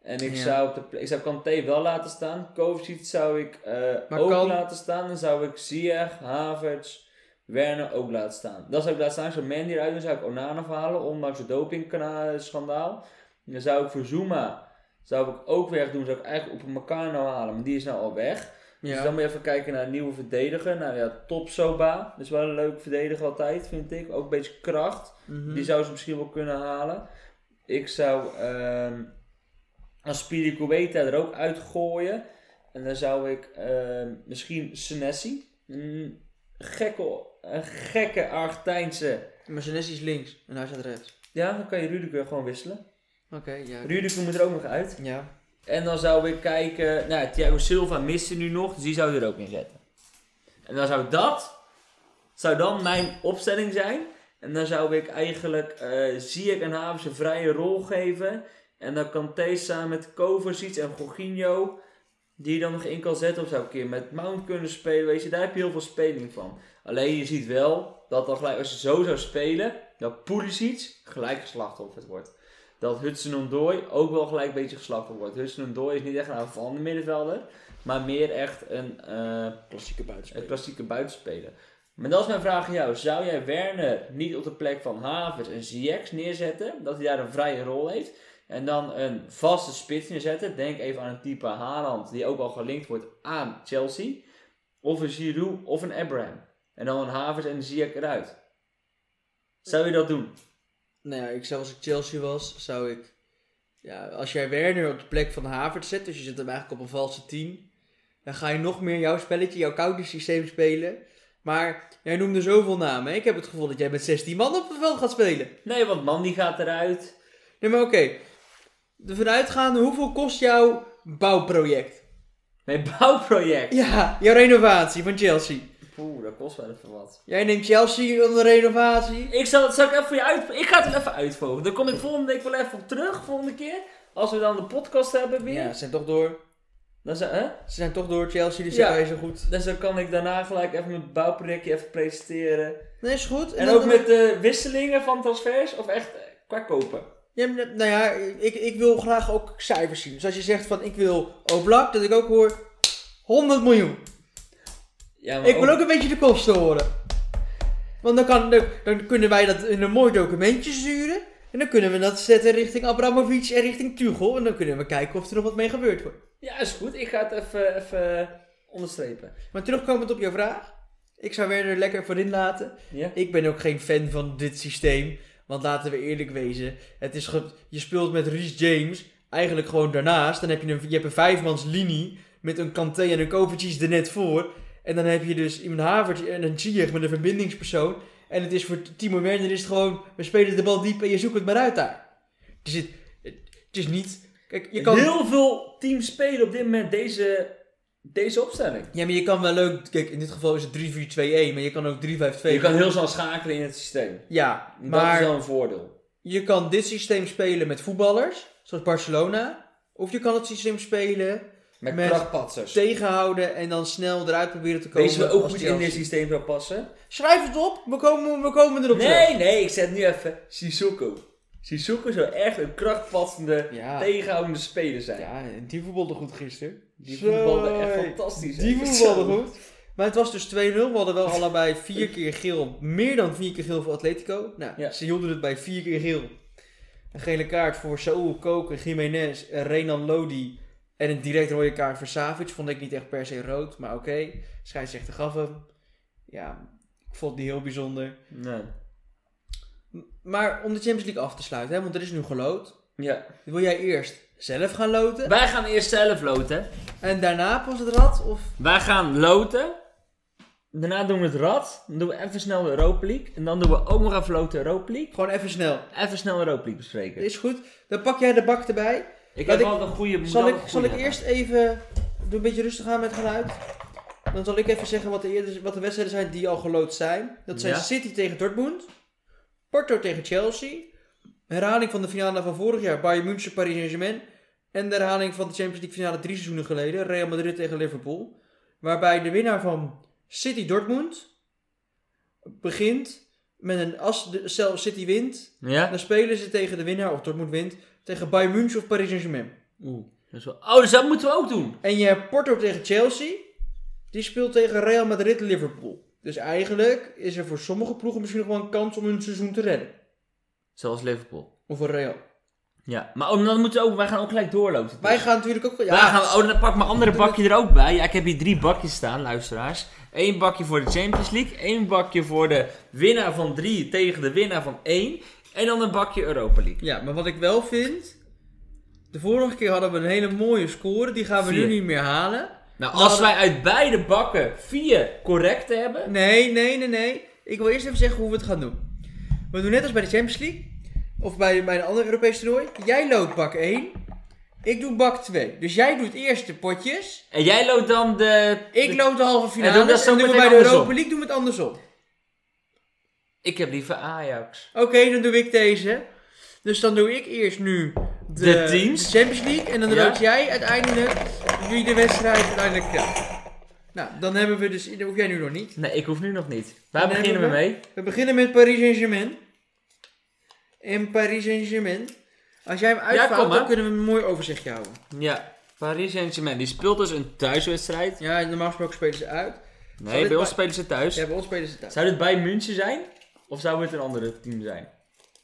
S2: En ik,
S1: Ja.
S2: zou op de pla- ik zou Kanté wel laten staan. Kovacic zou ik eh,
S1: Maar
S2: ook
S1: kan-
S2: laten staan. Dan zou ik Ziyech, Havertz, Werner ook laten staan. Dan zou ik laten staan. Ik zou Mandy eruit doen. Dan zou ik Onana verhalen. Ondanks het dopingschandaal. Dan zou ik voor Zuma... Zou ik ook wegdoen. Zou ik eigenlijk op Meccano halen. Maar die is nou al weg. Dus
S1: Ja.
S2: dan moet je even kijken naar een nieuwe verdediger. Nou ja, Topsoba. Dat is wel een leuk verdediger altijd, vind ik. Ook een beetje kracht.
S1: Mhm.
S2: Die zou ze misschien wel kunnen halen. Ik zou ehm Aspiricueta er ook uitgooien. En dan zou ik ehm, misschien Senesi. Een gekke, een gekke Argentijnse.
S1: Maar Senesi is links en hij staat rechts.
S2: Ja, dan kan je Rudiger gewoon wisselen.
S1: Oké, ja.
S2: Rudiger moet er ook nog uit.
S1: Ja.
S2: En dan zou ik kijken. Nou, Thiago Silva miste nu nog, dus die zou je er ook in zetten. En dan zou dat. Zou dan mijn opstelling zijn. En dan zou ik eigenlijk eh Ziyech en Havers een vrije rol geven. En dan Kanté samen met Kovacic en Jorginho. Die je dan nog in kan zetten. Of zou ik een keer met Mount kunnen spelen. Weet je, daar heb je heel veel speling van. Alleen je ziet wel dat dan gelijk, als je zo zou spelen. Dat Pulisic gelijk een slachtoffer wordt dat Hudson Ondoy ook wel gelijk een beetje geslachterd wordt. Hudson Ondoy is niet echt een aanvallende middenvelder, maar meer echt een, eh,
S1: Klassieke
S2: een
S1: buitenspeler.
S2: klassieke buitenspeler. Maar dat is mijn vraag aan jou. Zou jij Werner niet op de plek van Havers en Ziyech neerzetten? Dat hij daar een vrije rol heeft. En dan een vaste spits neerzetten. Denk even aan een type Haaland, die ook al gelinkt wordt aan Chelsea. Of een Giroud of een Abraham. En dan een Havers en een Ziyech eruit. Zou je dat doen?
S1: Nou ja, ik zou als ik Chelsea was, zou ik... Ja, als jij Werner op de plek van Havertz zet, dus je zet hem eigenlijk op een valse 10, dan ga je nog meer jouw spelletje, jouw koude systeem spelen. Maar jij noemde zoveel namen. hè? Ik heb het gevoel dat jij met 16 man op het veld gaat spelen.
S2: Nee, want man die gaat eruit.
S1: Nee, maar oké. Ervan uitgaande, hoeveel kost jouw bouwproject?
S2: Mijn bouwproject.
S1: Ja, jouw renovatie van Chelsea.
S2: Poeh, dat kost wel even wat.
S1: Jij neemt Chelsea onder renovatie.
S2: Ik zal, zal ik even voor je uit... Ik ga het er even uitvogelen. Dan kom ik volgende week wel even op terug, volgende keer. Als we dan de podcast hebben weer.
S1: Ja, ze zijn toch door.
S2: Dan, zou, hè?
S1: Ze zijn toch door, Chelsea, dus
S2: Ja.
S1: ja. is zo goed.
S2: dus dan kan ik daarna gelijk even mijn bouwprojectje even presenteren.
S1: Nee, is goed.
S2: En
S1: dan-
S2: ook met de wisselingen van transfers of echt eh, qua kopen.
S1: Ja, maar dat- nou ja, ik, ik wil graag ook cijfers zien. Dus als je zegt van, ik wil Oblak, dat ik ook hoor 100 miljoen.
S2: Ja, maar
S1: Ik wil ook een beetje de kosten horen. Want dan, kan, dan, dan kunnen wij dat in een mooi documentje sturen. En dan kunnen we dat zetten richting Abramovic en richting Tuchel. En dan kunnen we kijken of er nog wat mee gebeurd wordt.
S2: Ja, is goed. Ik ga het even, even eh, onderstrepen.
S1: Maar terugkomend op jouw vraag. Ik zou Werner lekker voorin laten.
S2: Ja?
S1: Ik ben ook geen fan van dit systeem. Want laten we eerlijk wezen. Het is ge- je speelt met Reece James. Eigenlijk gewoon daarnaast. Dan heb je een, je hebt een vijfmans linie. Met een Kanté en een Kovacic er net voor. En dan heb je dus iemand Havertz en een Ziyech met een verbindingspersoon. En het is voor Timo Werner is het gewoon... We spelen de bal diep en je zoekt het maar uit daar. Dus het, het, het is niet... Kijk, je kan...
S2: Heel veel teams spelen op dit moment deze, deze opstelling.
S1: Ja, maar je kan wel leuk... Kijk, in dit geval is het 3-4-2-1. Maar je kan ook 3-5-2.
S2: Je kan heel snel schakelen in het systeem.
S1: Ja,
S2: Dat
S1: maar...
S2: is wel een voordeel.
S1: Je kan dit systeem spelen met voetballers, zoals Barcelona. Of je kan het systeem spelen,
S2: Met,
S1: Met
S2: krachtpatsers.
S1: tegenhouden en dan snel eruit proberen te komen.
S2: Wees we ook
S1: als
S2: goed in
S1: Chelsea.
S2: dit systeem zou passen?
S1: Schrijf het op, we komen, we komen erop terug.
S2: Nee, nee, ik zet nu even Sissoko. Sissoko zou echt een krachtpatsende,
S1: Ja.
S2: tegenhoudende speler zijn.
S1: Ja, en die voetbalde goed gisteren.
S2: Die
S1: Zo,
S2: voetbalde echt
S1: hey.
S2: fantastisch.
S1: Die
S2: hè.
S1: voetbalde
S2: Zo.
S1: goed. Maar het was dus 2-0. We hadden wel allebei vier keer geel. Meer dan vier keer geel voor Atletico. Nou,
S2: Ja.
S1: ze hielden het bij vier keer geel. Een gele kaart voor Saúl, Koken, Jiménez, eh, Renan Lodi. En een direct rode kaart voor Savic. Vond ik niet echt per se rood, maar oké. Scheidsrechter gaf hem. Ja, ik vond het niet heel bijzonder.
S2: Nee.
S1: M- Maar om de Champions League af te sluiten, hè, want er is nu geloot.
S2: Ja.
S1: Wil jij eerst zelf gaan loten?
S2: Wij gaan eerst zelf loten.
S1: En daarna pas het rad? Of
S2: Wij gaan loten. Daarna doen we het rad. Dan doen we even snel de Europa League. En dan doen we ook nog even loten Europa League.
S1: gewoon even snel?
S2: Even snel Europa League bespreken.
S1: Is goed. Dan pak jij de bak erbij.
S2: Ik
S1: Laat
S2: heb
S1: ik-
S2: altijd een goede moet
S1: Zal
S2: altijd
S1: ik,
S2: een
S1: zal
S2: goede
S1: ik
S2: hebben.
S1: eerst even. Doe een beetje rustig aan met geluid. Dan zal ik even zeggen wat de, eerder, wat de wedstrijden zijn die al geloot zijn. Dat zijn
S2: Ja.
S1: City tegen Dortmund. Porto tegen Chelsea. Herhaling van de finale van vorig jaar. Bayern München, Paris Saint-Germain. En de herhaling van de Champions League finale drie seizoenen geleden. Real Madrid tegen Liverpool. Waarbij de winnaar van City Dortmund begint met een als de, zelf City wint.
S2: Ja?
S1: Dan spelen ze tegen de winnaar of Dortmund wint. Tegen Bayern München of Paris Saint-Germain.
S2: Oeh. Dat is wel... Oh, dus dat moeten we ook doen.
S1: En je hebt Porto tegen Chelsea. Die speelt tegen Real Madrid Liverpool. Dus eigenlijk is er voor sommige ploegen misschien nog wel een kans om hun seizoen te redden.
S2: Zoals Liverpool.
S1: Of voor Real.
S2: Ja. Maar oh, dan moeten we ook... Wij gaan ook gelijk doorloten.
S1: Wij gaan natuurlijk ook...
S2: Daar
S1: Ja,
S2: gaan we, oh, dan pak ik mijn andere bakje er ook bij. Ja, ik heb hier drie bakjes staan, luisteraars. Eén bakje voor de Champions League. één bakje voor de winnaar van drie tegen de winnaar van één. En dan een bakje Europa League.
S1: ja, maar wat ik wel vind... De vorige keer hadden we een hele mooie score. Die gaan we
S2: Vier.
S1: nu niet meer halen.
S2: Nou,
S1: Nou,
S2: als
S1: dat-
S2: wij uit beide bakken vier correct hebben...
S1: Nee, nee, nee, nee. Ik wil eerst even zeggen hoe we het gaan doen. We doen net als bij de Champions League. Of bij, bij een ander Europees toernooi. Jij loopt bak 1. Ik doe bak 2. Dus jij doet eerst de potjes.
S2: En jij loopt dan de...
S1: Ik
S2: de-
S1: loop de halve finale.
S2: En doen we dat
S1: doen
S2: zo
S1: we bij
S2: meteen
S1: de
S2: andersom?
S1: Europa League doen we het andersom. Oké,
S2: Ik heb liever Ajax.
S1: dan doe ik deze. Dus dan doe ik eerst nu de,
S2: De teams.
S1: de Champions League. En dan
S2: Ja.
S1: loop jij uiteindelijk wie de wedstrijd uiteindelijk krijgt. Nou, dan hebben we dus... Dat hoef jij nu nog niet.
S2: Nee, ik hoef nu nog niet. Waar
S1: Dan
S2: beginnen we
S1: hebben
S2: mee?
S1: We beginnen met Paris Saint-Germain. En Paris Saint-Germain. Als jij hem
S2: kom
S1: uitvouwt,
S2: maar.
S1: dan kunnen we een mooi overzichtje houden.
S2: Ja, Paris Saint-Germain. Die speelt dus een thuiswedstrijd.
S1: Ja, normaal gesproken spelen ze uit. Zal
S2: Nee,
S1: dit
S2: bij ons
S1: bij-
S2: spelen ze thuis.
S1: Ja, bij ons spelen ze het uit.
S2: Zou dit bij München zijn? Of zou het een andere team zijn?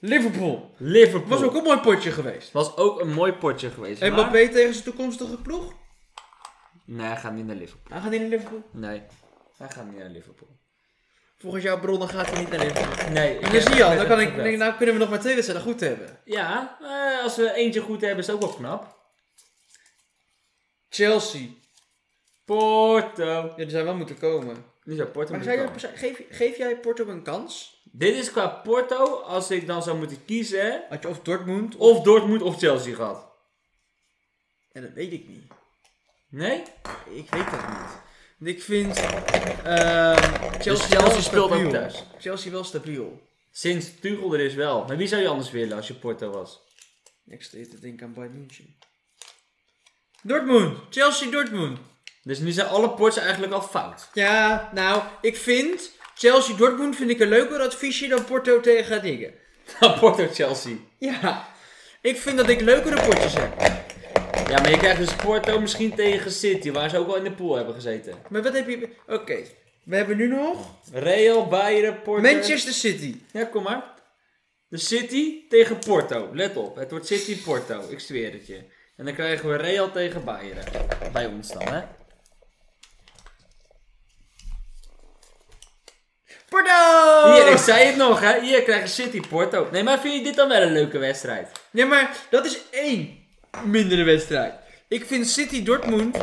S1: Liverpool.
S2: Liverpool.
S1: Was ook een mooi potje geweest.
S2: Was ook een mooi potje geweest.
S1: En
S2: maar-
S1: Mbappé tegen zijn toekomstige ploeg.
S2: Nee, hij gaat niet naar Liverpool.
S1: Hij gaat niet naar Liverpool.
S2: Nee. Hij gaat niet naar Liverpool.
S1: Volgens jouw bronnen gaat hij niet naar Liverpool.
S2: Nee. ik
S1: En dan
S2: heb-
S1: zie je al, dan
S2: ik heb
S1: kan
S2: het
S1: ik,
S2: gebeld.
S1: nou kunnen we nog maar twee wedstrijden goed hebben.
S2: Ja, eh, als we eentje goed hebben is het ook wel knap.
S1: Chelsea.
S2: Porto.
S1: Ja, die zou wel moeten komen.
S2: Nu zou Porto
S1: Maar
S2: moeten
S1: zou je-
S2: komen.
S1: zou- geef, geef jij Porto een kans?
S2: Dit is qua Porto, als ik dan zou moeten kiezen,
S1: Had je of Dortmund of...
S2: of Dortmund of Chelsea gehad.
S1: Ja, dat weet ik niet.
S2: Nee?
S1: Ik weet dat niet. Want ik vind ehm, Chelsea,
S2: Dus Chelsea
S1: wel
S2: speelt ook
S1: stabiel.
S2: thuis.
S1: Chelsea wel stabiel.
S2: Sinds Tuchel er is wel. Maar wie zou je anders willen als je Porto was?
S1: Ik zit even te denken aan Bayern München. Dortmund. Chelsea Dortmund.
S2: Dus nu zijn alle ports eigenlijk al fout. *laughs*
S1: Ja, nou, ik vind Chelsea Dortmund vind ik een leuker adviesje dan Porto tegen dingen.
S2: Porto Chelsea.
S1: Ja, ik vind dat ik leukere potjes heb.
S2: Ja, maar je krijgt dus Porto misschien tegen City, waar ze ook al in de pool hebben gezeten.
S1: Maar wat heb je... Oké, we hebben nu nog
S2: Real, Bayern, Porto.
S1: Manchester City.
S2: Ja, kom maar. De City tegen Porto. Let op, het wordt City-Porto. Ik zweer het je. En dan krijgen we Real tegen Bayern. Bij ons dan, hè?
S1: Porto!
S2: Hier, ik zei het nog, hè? Hier krijgen City-Porto. Nee, maar vind je dit dan wel een leuke wedstrijd?
S1: Nee, maar dat is één mindere wedstrijd. Ik vind City Dortmund,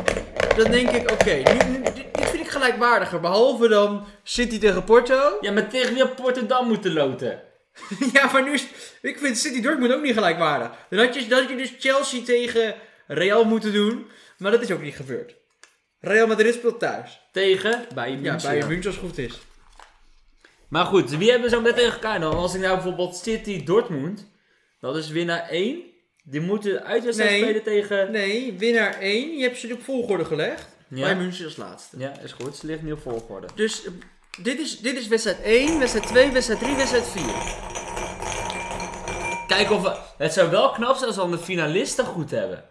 S1: dan denk ik, oké, nu- nu- dit dit vind ik gelijkwaardiger. Behalve dan City tegen Porto. *laughs*
S2: Ja, maar tegen wie had Porto dan moeten loten?
S1: Ja, maar nu is. Ik vind City Dortmund ook niet gelijkwaardig. Dan had je, dan had je dus Chelsea tegen Real moeten doen. Maar dat is ook niet gebeurd. Real Madrid speelt thuis.
S2: Tegen Bayern
S1: Ja,
S2: München.
S1: bij München als het goed is.
S2: Maar goed, wie hebben we zo meteen tegen elkaar dan? Als ik nou bijvoorbeeld City Dortmund, dat is winnaar 1. Die moeten uitwedstrijd
S1: Nee.
S2: spelen tegen.
S1: Nee, winnaar 1. Je hebt ze op volgorde gelegd.
S2: Ja.
S1: Bij München als laatste.
S2: Ja, is goed. Ze ligt nu op volgorde.
S1: Dus eh, dit is, dit is wedstrijd 1, wedstrijd 2, wedstrijd 3, wedstrijd 4.
S2: Kijken of we... Het zou wel knap zijn als we dan de finalisten goed hebben.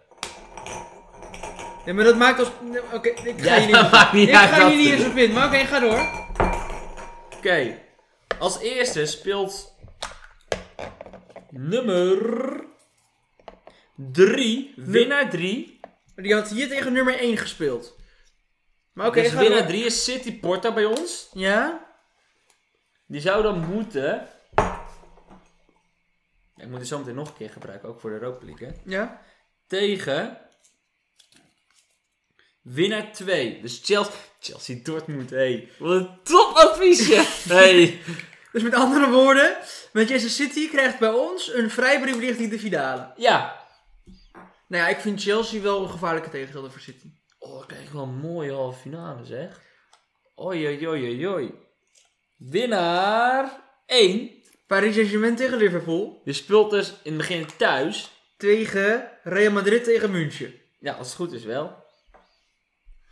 S1: Ja, maar dat maakt als... nee, Oké, ik ga
S2: Ja,
S1: je niet...
S2: maakt niet
S1: ik
S2: uit
S1: ga
S2: wat
S1: je niet
S2: het
S1: eens
S2: is.
S1: op in, maar oké, ga door.
S2: Oké. Als eerste speelt... Nummer... 3. Winnaar 3.
S1: Die had hier tegen nummer 1 gespeeld. Maar oké,
S2: dus
S1: ga door.
S2: winnaar 3 is City Porta bij ons.
S1: Ja?
S2: Die zou dan moeten... Ik moet die zo meteen nog een keer gebruiken, ook voor de Europa League, hè.
S1: Ja?
S2: tegen winnaar 2. Dus Chelsea, Chelsea Dortmund, hey. Wat een topadviesje. *laughs* hey.
S1: Dus met andere woorden, Manchester City krijgt bij ons een vrijbrief richting de finale.
S2: Ja.
S1: Nou ja, ik vind Chelsea wel een gevaarlijke tegenstander voor City.
S2: Oh, kijk, wel een mooie halve finale zeg. Oei, oei, oei, oei, oei. Winnaar 1.
S1: Paris Saint-Germain tegen Liverpool.
S2: Je speelt dus in het begin thuis.
S1: Tegen Real Madrid tegen München.
S2: Ja, als het goed is wel.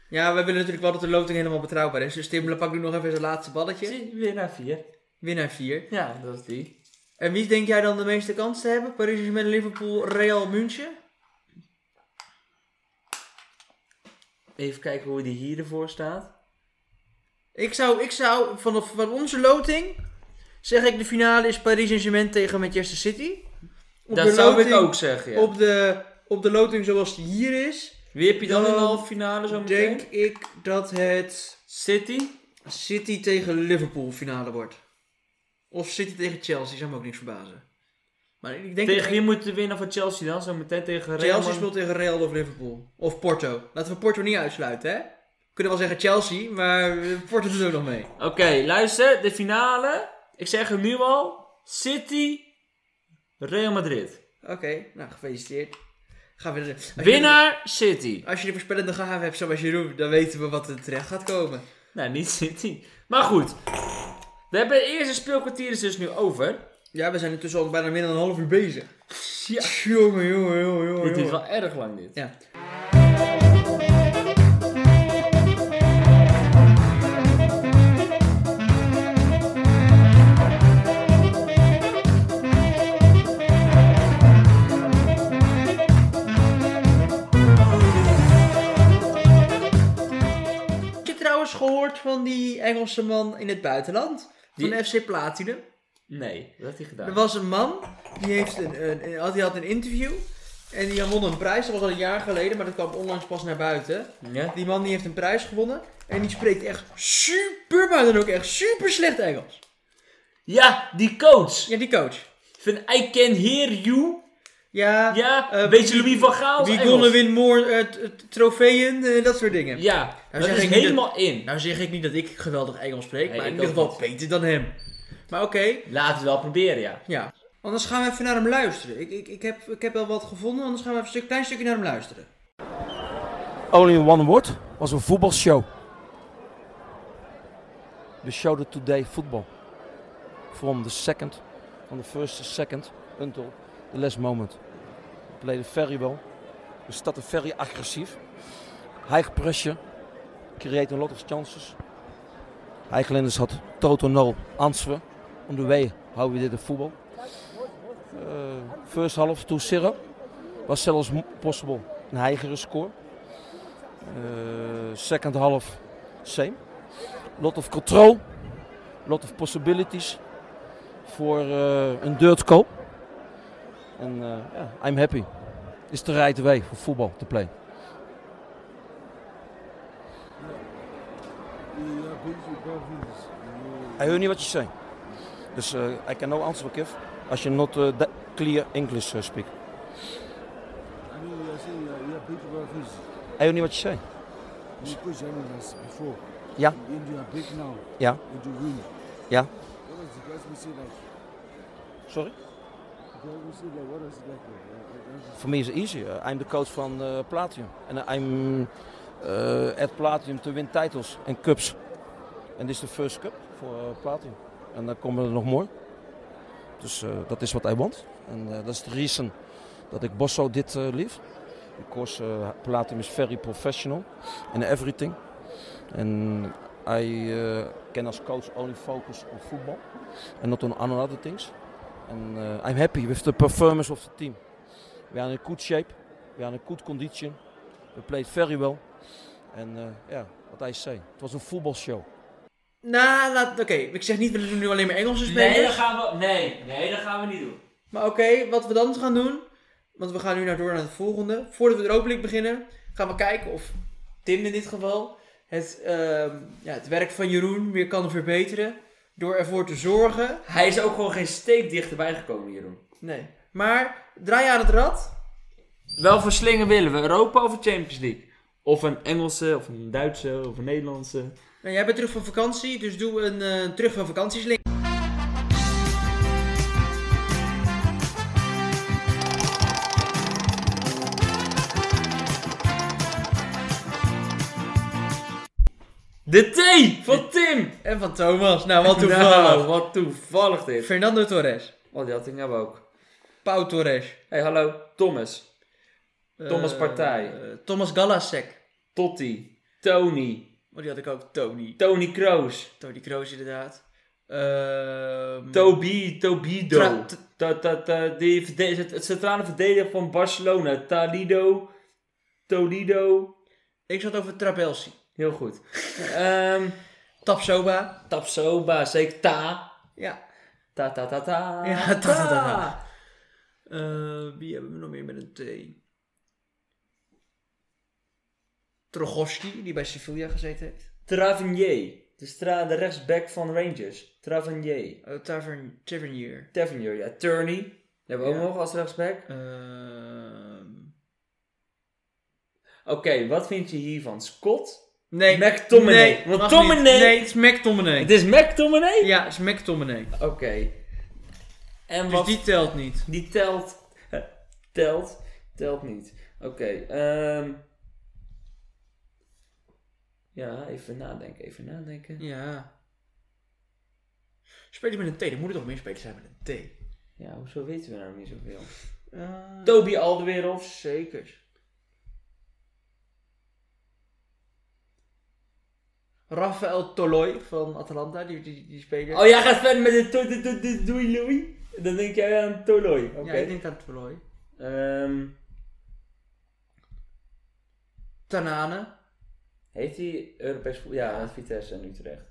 S1: Ja, we willen natuurlijk wel dat de loting helemaal betrouwbaar is. Dus Tim pakt nu nog even zijn laatste balletje.
S2: Winnaar 4.
S1: Winnaar 4.
S2: Ja, dat is die.
S1: En wie denk jij dan de meeste kansen te hebben? Paris Saint-Germain, Liverpool, Real, München?
S2: Even kijken hoe die hier ervoor staat.
S1: Ik zou, ik zou vanaf van onze loting zeg ik de finale is Paris Saint-Germain tegen Manchester City. Op
S2: dat
S1: de
S2: zou ik
S1: loting-
S2: ook zeggen. Ja.
S1: Op de, op de loting zoals die hier is,
S2: Wie heb je dan, in de
S1: Dan
S2: halve finale zo meteen?
S1: denk ik dat het
S2: City.
S1: City tegen Liverpool finale wordt. Of City tegen Chelsea, zou me ook niks verbazen. Maar ik denk
S2: Tegen
S1: dat
S2: wie moet de winnaar van Chelsea dan? Zo meteen tegen Real
S1: Chelsea
S2: Madrid.
S1: speelt tegen Real of Liverpool. Of Porto. Laten we Porto niet uitsluiten, hè? We kunnen wel zeggen Chelsea, maar eh, Porto doet ook nog mee.
S2: Oké, luister. De finale. Ik zeg het nu al. City. Real Madrid.
S1: Oké, nou gefeliciteerd. Gaan we als je-
S2: Winnaar City.
S1: Als je de voorspellende gave hebt zoals Jeroen, dan weten we wat er terecht gaat komen.
S2: Nou, niet City. Maar goed. We hebben het eerste speelkwartier is dus nu over.
S1: Ja, we zijn intussen al bijna meer dan een half uur bezig.
S2: Ja.
S1: Jongen, jongen, jongen, jongen.
S2: Dit is
S1: jongen.
S2: wel erg lang dit.
S1: Ja. Heb je trouwens gehoord van die Engelse man in het buitenland? Van
S2: Die-
S1: FC Platinum.
S2: Nee, dat had hij
S1: Er
S2: gedaan.
S1: was een man, die, heeft een, een, een- had, die had een interview. En die won een prijs, dat was al een jaar geleden, maar dat kwam onlangs pas naar buiten.
S2: Ja?
S1: Die man die heeft een prijs gewonnen. En die spreekt echt super, maar dan ook echt super slecht Engels.
S2: ja, die coach.
S1: Ja, die coach.
S2: Van I can hear you.
S1: Ja,
S2: Ja,
S1: eh,
S2: weet je Louis van Gaal?
S1: wie
S2: Engels.
S1: gonna win more eh, t- t- trofeeën, eh, dat soort dingen.
S2: Ja, dat
S1: zeg
S2: is
S1: ik niet dat-
S2: helemaal in.
S1: Nou zeg ik niet dat ik geweldig Engels spreek,
S2: Nee,
S1: maar
S2: ik
S1: in ieder
S2: ook
S1: geval
S2: niet.
S1: beter dan hem. Maar oké,
S2: Laten we wel proberen, ja.
S1: ja. Anders gaan we even naar hem luisteren. Ik, ik, ik, heb, ik heb wel wat gevonden, anders gaan we even een stuk- klein stukje naar hem luisteren.
S4: Only in one word was een voetbalshow. We showed it today football. From the second, from the first to second until the last moment. We played it very well. We started very agressief. High pressure. Create a lot of chances. Highlanders had total no answer on the way how we did the football. Eh, first half 2-0 was zelfs possible een higher score. Uh, second half, same. Lot of control, lot of possibilities voor eh, een dirt goal. En eh, ja, I'm happy. Is the right way voor voetbal te play. I heard niet wat je zei. Dus eh I can no answer Kev als je not eh, that clear English eh, speak.
S5: I mean, you are saying you are, you are big brothers.
S4: I heard niet wat je zei.
S5: You coach us before.
S4: Ja.
S5: And you are big now.
S4: Ja.
S5: And you win.
S4: Ja.
S5: What was the guys we see like?
S4: Sorry?
S5: The guys we see like, what was it like? uh, uh, uh,
S4: For me is easy. Uh, I'm the coach van eh, Platinum. And I'm eh, at Platinum to win titles and cups. And this is the first cup voor eh, Platinum. En dan komen er nog more. Dus eh, dat is wat I want. En eh, dat is de reason dat ik Bosso dit eh lief. Because eh, Platinum is very professional in everything. And I eh, can as coach only focus on football and not on other things. And uh, I'm happy with the performance of the team. We are in good shape. We are in good condition. We played very well. And uh, yeah, what I say, it was a football show.
S1: Nou, laat- oké. Ik zeg niet, we doen nu alleen maar Engelse spelers.
S2: Nee, dat gaan we, nee, nee, dat gaan we niet doen.
S1: Maar oké, wat we dan gaan doen. Want we gaan nu naar door naar het volgende. Voordat we de Europa League beginnen, gaan we kijken of Tim in dit geval het, ehm, ja, het werk van Jeroen weer kan verbeteren. Door ervoor te zorgen.
S2: Hij is ook gewoon geen steek dichterbij gekomen, Jeroen.
S1: Nee. Maar draai aan het rad.
S2: Wel voor slingen willen we Europa of de Champions League? Of een Engelse, of een Duitse, of een Nederlandse.
S1: Nou, jij bent terug van vakantie, dus doe een eh, terug van vakantieslink.
S2: De T van Tim!
S1: En van Thomas. Nou,
S2: *laughs*
S1: wat toevallig.
S2: Nou, wat toevallig dit.
S1: Fernando Torres.
S2: Oh, die had ik nou ook.
S1: Pau Torres.
S2: hey, hallo, Thomas, Thomas
S1: Eh,
S2: Partij.
S1: eh, Thomas Galasek.
S2: Totti, Tony,
S1: Maar die had ik ook. Tony.
S2: Tony Kroos,
S1: Tony Kroos inderdaad. Ehm
S2: Toby, Tobido.
S1: Tra- t-
S2: Ta- ta- ta- die verde- het- Het centrale verdediger van Barcelona, Talido, Toledo.
S1: Ik zat over Trabelsi.
S2: Heel
S1: *laughs*
S2: goed. Ehm
S1: Tapsoba.
S2: Tapsoba, zeker Ta.
S1: Ja.
S2: Ta ta ta ta.
S1: Ja, ta, ta, ta, ta. Eh, wie hebben we nog meer met een T? Trogoski, die bij Sevilla gezeten heeft.
S2: Travenier. De, stra- de rechtsback van Rangers. Travenier.
S1: Oh, Tavern, Tavernier.
S2: Tavernier, ja. Turney. Die hebben we
S1: Ja.
S2: ook nog als rechtsback.
S1: Ehm,
S2: Oké, wat vind je hiervan? Scott?
S1: nee.
S2: McTominay.
S1: Nee,
S2: Want
S1: mag
S2: Tominay-
S1: niet. Nee, het is McTominay.
S2: Het is McTominay?
S1: Ja, het is McTominay.
S2: Oké. En
S1: Dus
S2: wat...
S1: die telt niet.
S2: Die telt. telt. Telt niet. Oké. ehm. Ja, even nadenken, even nadenken.
S1: Ja. Spelen met een T, er moeten toch meer spelers zijn met een T.
S2: Ja, hoezo weten we nou niet zoveel?
S1: Eh,
S2: Toby Alderweireld.
S1: Zeker. Rafael Toloi van Atalanta, die, die, die speler.
S2: Oh, jij gaat verder met de to- to- to- to- Doei Louis? Dan denk jij aan Toloi. Oké.
S1: Ja, ik denk aan Toloi.
S2: Ehm,
S1: Tanane.
S2: heeft hij Europees voetbal? Ja, aan Vitesse en Utrecht.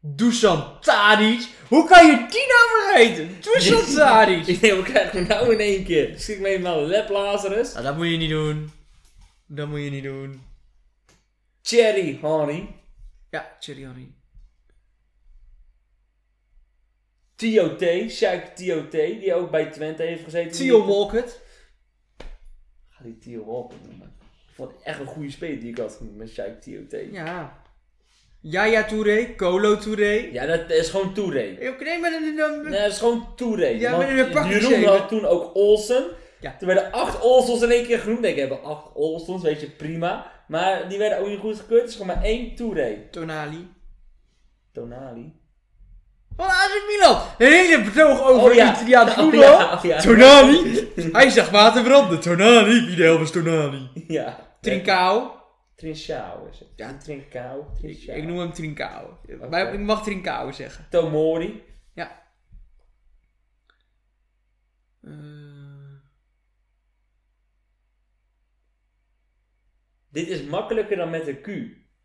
S1: Dusan Tadic. Hoe kan je die nou vergeten? Dusan Tadic.
S2: Ik denk, we krijgen hem nou in één keer. Schiet me even een Lep Lazarus.
S1: nou, dat moet je niet doen. Dat moet je niet doen.
S2: Thierry Henry.
S1: Ja, Thierry Henry.
S2: Tio T. Sjaak Tio T. Die ook bij Twente heeft gezeten.
S1: Theo Walcott.
S2: Ga die Tio Walker noemen. Ik vond het echt een goede speler die ik had genoemd met Sjaak Tio T. Ja.
S1: Ja. Yaya Touré. Colo Touré.
S2: dat is gewoon Touré.
S1: Ik neem maar een- een- een-
S2: Nee, dat is gewoon Touré.
S1: Ja,
S2: Want
S1: maar in een pakje
S2: Jeroen
S1: zeker.
S2: had toen ook Olsen.
S1: Ja.
S2: Toen werden acht Olsons in één keer genoemd. Ik denk, we hebben acht Olsons, weet je, prima. Maar die werden ook niet goed gekeurd. Het is gewoon maar één Touré.
S1: Tonali.
S2: Tonali. *laughs*
S1: Van AC Milan. Een hele betoog over
S2: Oh ja.
S1: Italiaans
S2: Oh
S1: voetbal.
S2: ja, oh ja. *laughs*
S1: Tonali. Hij zag water branden. Tonali. Wie de hel was Tonali?
S2: Ja.
S1: Trincao.
S2: Trincao is het.
S1: Ja.
S2: Trincao.
S1: Ik,
S2: Trincao.
S1: ik noem hem Trincao.
S2: Oké.
S1: Maar ik mag Trincao zeggen.
S2: Tomori.
S1: Ja. Eh,
S2: Dit is makkelijker dan met een Q.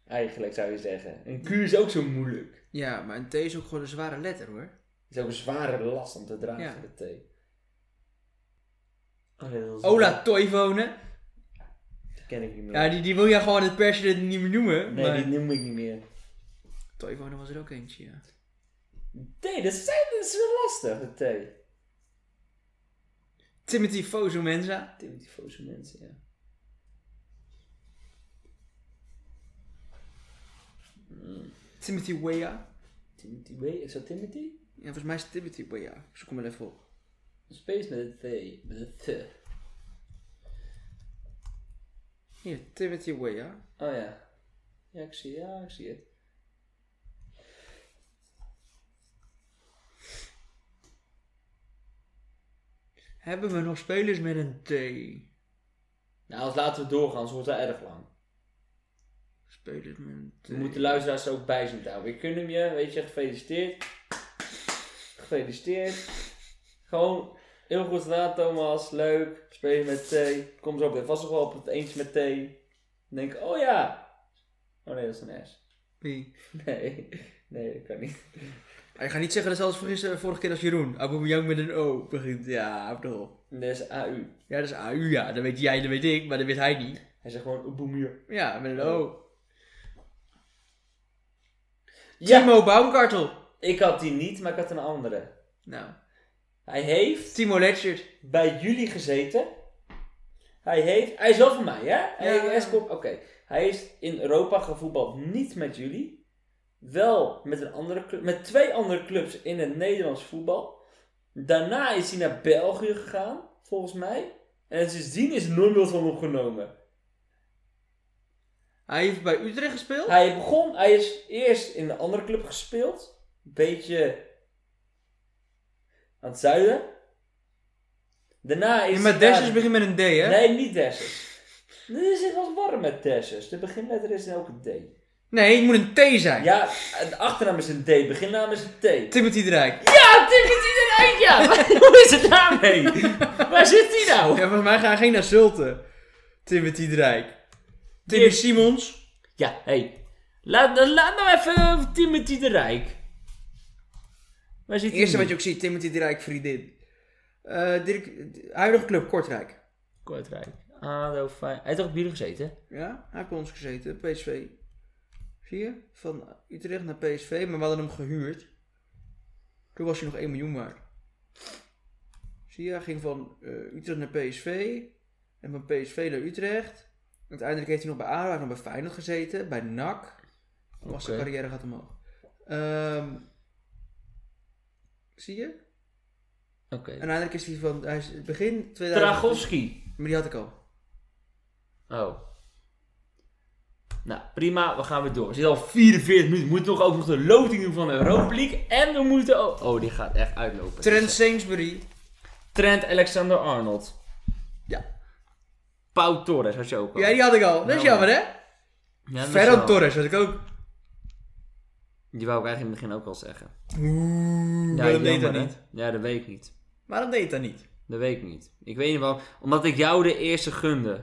S2: Eigenlijk zou je zeggen. Een Q is ook zo moeilijk.
S1: ja, maar een T is ook gewoon een zware letter hoor.
S2: Het is ook een zware last om te dragen,
S1: Ja.
S2: de thee. Oh, nee, dat is-
S1: Ola Toivonen.
S2: Die ken ik niet meer.
S1: Ja, die, die wil jij gewoon het persje niet meer noemen.
S2: nee,
S1: maar...
S2: die noem ik niet meer.
S1: Toivonen was er ook eentje, ja.
S2: Nee, dat is, dat is wel lastig, de thee.
S1: Timothy Fosu-Mensa.
S2: Timothy Fosu mensen, ja.
S1: Timothy Weah.
S2: Timothy Way, is dat Timothy?
S1: Ja, volgens mij is het Timothy Weah. Ik zoek hem wel even op.
S2: Een space met een T. Met een T.
S1: Hier, Timothy Weah.
S2: Oh ja. Ja, ik zie, ja, ik zie het.
S1: Hebben we nog spelers met een T?
S2: Nou, als laten we doorgaan, anders wordt het erg lang.
S1: Spelers met een T.
S2: We moeten luisteraars er ook bij zien te houden. Ik kun hem je, weet je, gefeliciteerd. gefeliciteerd. Gewoon heel goed gedaan, Thomas. Leuk. Speel je met T. Kom zo op. Dit was nog wel op het eens met T. Dan denk ik, oh ja. Oh nee, dat is een S. *laughs*
S1: Wie?
S2: Nee, nee, dat kan niet.
S1: Maar je gaat niet zeggen dat zelfs vergissen eh, vorige keer als Jeroen. Aubameyang met een O begint. Ja, ik bedoel.
S2: Dat is AU.
S1: Ja, dat is AU, ja. Dat weet jij, dat weet ik, maar dat weet hij niet.
S2: Hij zegt gewoon Oeboemier.
S1: Ja, met een
S2: Oh.
S1: O.
S2: Ja.
S1: Timo Baumkartel.
S2: Ik had die niet, maar ik had een andere.
S1: Nou,
S2: Hij heeft
S1: Timo Letchert.
S2: bij jullie gezeten. Hij heeft, hij is wel van mij, hè? Hij-
S1: Ja.
S2: hij is kop- Oké. Hij heeft in Europa gevoetbald niet met jullie. Wel met, een andere club, met twee andere clubs in het Nederlands voetbal. Daarna is hij naar België gegaan, volgens mij. En sindsdien is er nooit meer van hem genomen.
S1: Hij heeft bij Utrecht gespeeld.
S2: Hij begon, hij is eerst in een andere club gespeeld. Een beetje aan het zuiden. Daarna is
S1: Ja, maar
S2: hij
S1: Dessers
S2: naar-
S1: begint met een D, hè?
S2: Nee, niet Dessers. Er is het wat warm met Dessers. De beginletter is dan ook een D.
S1: Nee, het moet een T zijn.
S2: Ja, de achternaam is een D, de beginnaam is een T.
S1: Timothy Drijk.
S2: Ja, Tim is niet een eind, ja. *laughs* Hoe is het daarmee? Waar zit hij nou?
S1: Ja, volgens mij gaan geen naar Zulten. Timothy Drijk. Timmy
S2: Dit-
S1: Simons.
S2: Ja, hé. Hey. Laat, laat nou even Timothy de Rijk. Waar zit
S1: Het
S2: hij
S1: eerste
S2: nu?
S1: wat je ook ziet, Timothy Drijk, vriendin. Eh Dirk, de huidige club, Kortrijk.
S2: Kortrijk. ADO, Fey- Hij heeft toch op jullie gezeten?
S1: Ja, hij heeft bij ons gezeten, PSV. Zie je? Van Utrecht naar PSV, maar we hadden hem gehuurd. Toen was hij nog 1 miljoen waard. Zie je, hij ging van eh, Utrecht naar PSV. En van PSV naar Utrecht. Uiteindelijk heeft hij nog bij ADO, hij heeft nog bij Feyenoord gezeten. Bij NAC. Toen was zijn
S2: Oké.
S1: carrière gaat omhoog. Ehm, zie je? En
S2: Oké.
S1: uiteindelijk is hij van, hij is begin 2000...
S2: Tragowski.
S1: Maar die had ik al.
S2: Oh. Nou, prima. We gaan weer door. We zitten al 44 minuten. We moeten nog ook nog de loting doen van de Europa League. En we moeten ook... Oh, die gaat echt uitlopen.
S1: Trent Sainsbury.
S2: Trent Alexander-Arnold.
S1: Ja.
S2: Pau Torres had je ook al.
S1: Ja, die had ik al. Dat is
S2: Nou,
S1: jammer, hè?
S2: Ja, dat is
S1: Ferran
S2: dus wel-
S1: Torres had ik ook.
S2: Die wou ik eigenlijk in het begin ook al zeggen.
S1: Oeh,
S2: Ja,
S1: waarom deed dat
S2: jammer, hè?
S1: niet?
S2: Ja, dat weet ik niet.
S1: Waarom deed dat niet?
S2: Dat weet ik niet. Ik weet niet waarom. Omdat ik jou de eerste gunde.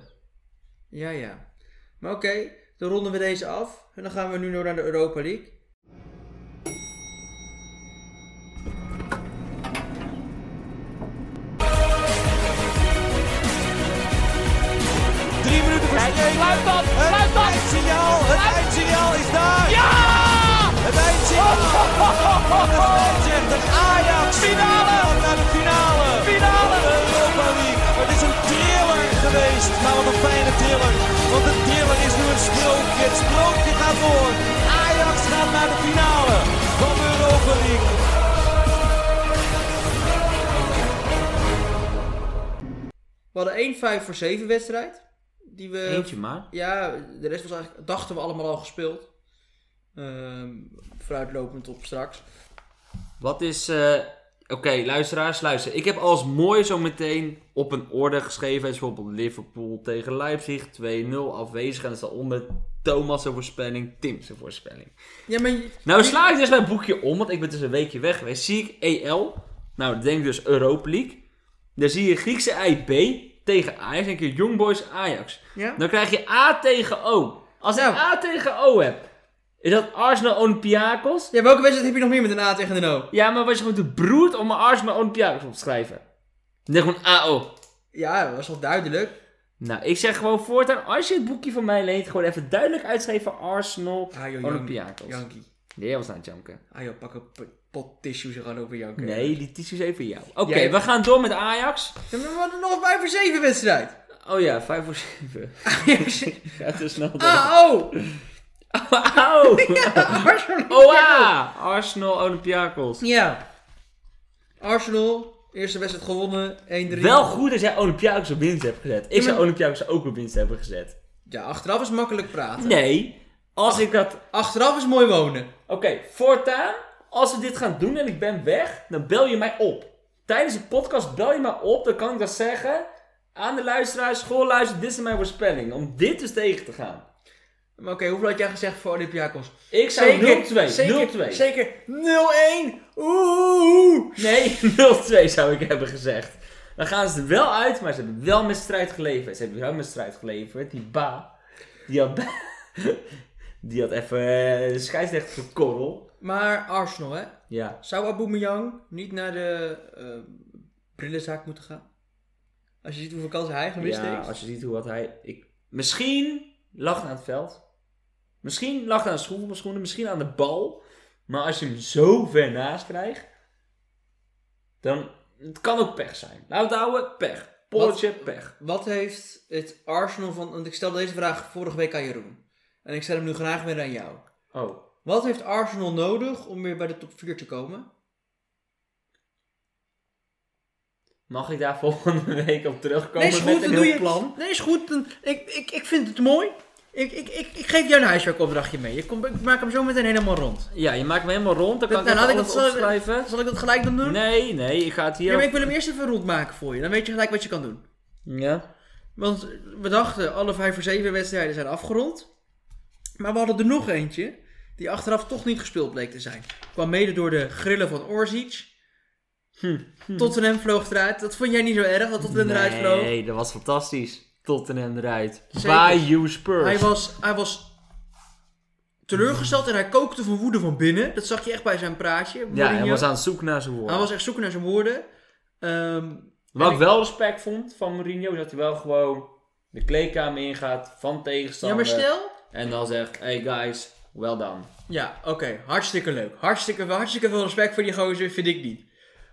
S1: Ja, ja. Maar oké, dan ronden we deze af. En dan gaan we nu nog naar de Europa League. We hadden 1-5 voor 7 wedstrijd. Die we...
S2: Eentje maar.
S1: Ja, de rest was eigenlijk, dachten we allemaal al gespeeld. Ehm, vooruitlopend op straks.
S2: Wat is. eh, Oké, luisteraars, luister. Ik heb alles mooi zo meteen op een orde geschreven. Het is bijvoorbeeld Liverpool tegen Leipzig 2-0 afwezig. En dat staat onder Thomas' voorspelling, Tim's voorspelling.
S1: Ja, maar je-
S2: Nou sla ik dus mijn boekje om, want ik ben dus een weekje weg geweest. Zie ik EL, nou dan denk ik dus Europa League. Dan zie je Griekse IB tegen Ajax. En een keer Young Boys Ajax.
S1: Ja?
S2: Dan krijg je A tegen O. Als ik
S1: Nou.
S2: A tegen O heb, is dat Arsenal Olympiakos?
S1: ja, welke wedstrijd heb je nog meer met een A tegen een O?
S2: Ja, maar was je gewoon te broed om mijn arts mijn Olympiakos op te schrijven? Dan zeg ik gewoon AO.
S1: Ja, dat was al duidelijk.
S2: Nou, ik zeg gewoon voortaan, als je het boekje van mij leent, gewoon even duidelijk uitschrijven Arsenal
S1: Ah, joh,
S2: Olympiakos.
S1: Janky.
S2: Nee, jij was aan het janken.
S1: Ah joh, pak een p- pot tissues en gaan over janken.
S2: Nee, die tissues even voor jou. Oké,
S1: Jij-
S2: we gaan door met Ajax.
S1: Ja, maar we hadden nog 5 voor 7 wedstrijd.
S2: Oh ja, 5 voor
S1: *laughs*
S2: 7. *laughs* Gaat te snel door.
S1: Ah, oh!
S2: *laughs* Au!
S1: *laughs* Arsenal.
S2: Oa! Arsenal Olympiakos.
S1: Ja. Arsenal, eerste wedstrijd gewonnen, 1-3.
S2: Wel goed dat jij Olympiakos op winst hebt gezet. Ik zou
S1: maar-
S2: Olympiakos ook op winst hebben gezet.
S1: Ja, achteraf is makkelijk praten.
S2: Nee, als ik dat
S1: Achteraf is mooi wonen.
S2: Oké, voortaan, als we dit gaan doen en ik ben weg, dan bel je mij op. Tijdens de podcast bel je mij op, dan kan ik dat zeggen aan de luisteraars. School luister, dit is mijn voorspelling. Om dit dus tegen te gaan.
S1: Oké, Maar oké, hoeveel had jij gezegd voor Olympiakos?
S2: Ik zou 0-2.
S1: Zeker,
S2: 0-2.
S1: zeker 0-1. Oeh.
S2: Nee, *laughs* 0-2 zou ik hebben gezegd. Dan gaan ze er wel uit, maar ze hebben wel met strijd geleverd. Ze hebben wel met strijd geleverd. Die ba, die had, *laughs* die had even eh, de scheidsrechter gekorrel.
S1: Maar Arsenal, hè?
S2: Ja,
S1: Zou Aubameyang niet naar de eh brillenzaak moeten gaan? Als je ziet hoeveel kansen hij gemist
S2: ja
S1: heeft.
S2: als je ziet hoe wat hij... Ik, misschien lag aan het veld. Misschien lag aan de schoen- schoenen, misschien aan de bal. Maar als je hem zo ver naast krijgt, dan... Het kan ook pech zijn. Laat het houden, pech. Polletje, pech.
S1: Wat heeft het Arsenal van... Want ik stelde deze vraag vorige week aan Jeroen. En ik stel hem nu graag weer aan jou.
S2: Oh.
S1: Wat heeft Arsenal nodig om weer bij de top 4 te komen?
S2: Mag ik daar *laughs* volgende week op terugkomen
S1: nee, is
S2: met
S1: goed,
S2: een
S1: dan doe
S2: heel
S1: je
S2: plan?
S1: Nee, is goed. Dan, ik, ik, ik vind het mooi. Ik, ik, ik, ik geef jou een huiswerkopdrachtje mee. Ik, kom, ik maak hem zo meteen helemaal rond.
S2: Ja, je maakt me helemaal rond. Dan kan
S1: Nou, laat
S2: ik
S1: ik
S2: even
S1: het
S2: alles
S1: zo-
S2: opschrijven.
S1: Zal ik dat gelijk dan doen?
S2: Nee, nee, ik ga het hier...
S1: Ja, maar ik wil hem eerst even rond maken voor je. Dan weet je gelijk wat je kan doen.
S2: Ja.
S1: Want we dachten, alle vijf voor zeven wedstrijden zijn afgerond. Maar we hadden er nog eentje, die achteraf toch niet gespeeld bleek te zijn. Kwam mede door de grillen van Orzic.
S2: Hm,
S1: Tottenham vloog eruit. Dat vond jij niet zo erg, dat Tottenham eruit vloog.
S2: Nee, dat was fantastisch. Tottenham eruit.
S1: Zeker.
S2: By you Spurs.
S1: Hij was, hij was teleurgesteld en hij kookte van woede van binnen. Dat zag je echt bij zijn praatje.
S2: ja, hij
S1: Mourinho.
S2: was aan het zoeken naar zijn woorden.
S1: Hij was echt zoeken naar zijn woorden. Ehm,
S2: Wat
S1: en
S2: ik wel respect vond van Mourinho, is dat hij wel gewoon de kleedkamer ingaat van
S1: ja,
S2: tegenstander.
S1: maar stel...
S2: En dan zegt, hey guys, well done.
S1: Ja, oké. Hartstikke leuk. Hartstikke, hartstikke veel respect voor die gozer, vind ik niet.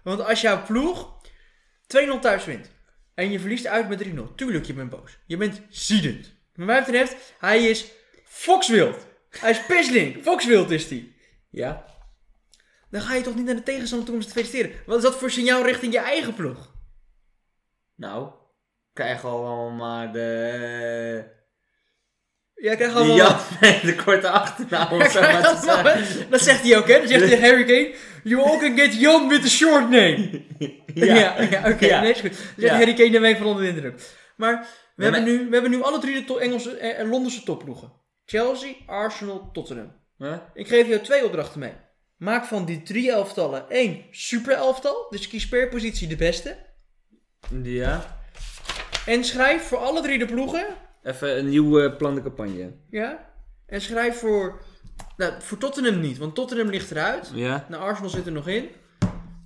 S1: Want als jouw ploeg 2-0 thuis wint en je verliest uit met 3-0, tuurlijk, je bent boos. Je bent ziedend. Maar mij betreft, hij is fokswild. Hij is *laughs* pisling. Fokswild is hij.
S2: Ja.
S1: Dan ga je toch niet naar de tegenstander toe om ze te feliciteren. Wat is dat voor signaal richting je eigen ploeg?
S2: Nou, krijg allemaal maar de...
S1: Jij krijgt
S2: Die
S1: allemaal...
S2: Jan met de korte achternaam *laughs* om
S1: Jij *laughs*
S2: zo
S1: krijgt
S2: maar te
S1: allemaal-
S2: zeggen.
S1: dat zegt hij ook, hè? Dat zegt hij Harry Kane. You all can get young with the short name. Ja, ja, oké.
S2: *laughs* Ja.
S1: Nee, is goed. Dus
S2: Ja.
S1: Harry Kane daar ben ik van onder de indruk. Maar we,
S2: Nee,
S1: hebben, Nu, we hebben nu alle drie de to- Engelse en Londense topploegen. Chelsea, Arsenal, Tottenham.
S2: Huh?
S1: Ik geef jou twee opdrachten mee. Maak van die drie elftallen één super elftal. Dus kies per positie de beste.
S2: Ja.
S1: En schrijf voor alle drie de ploegen.
S2: Even een nieuw eh, plan de campagne.
S1: Ja. En schrijf voor... Nou, voor Tottenham niet. Want Tottenham ligt eruit.
S2: Ja.
S1: Nou, Arsenal zit er nog in.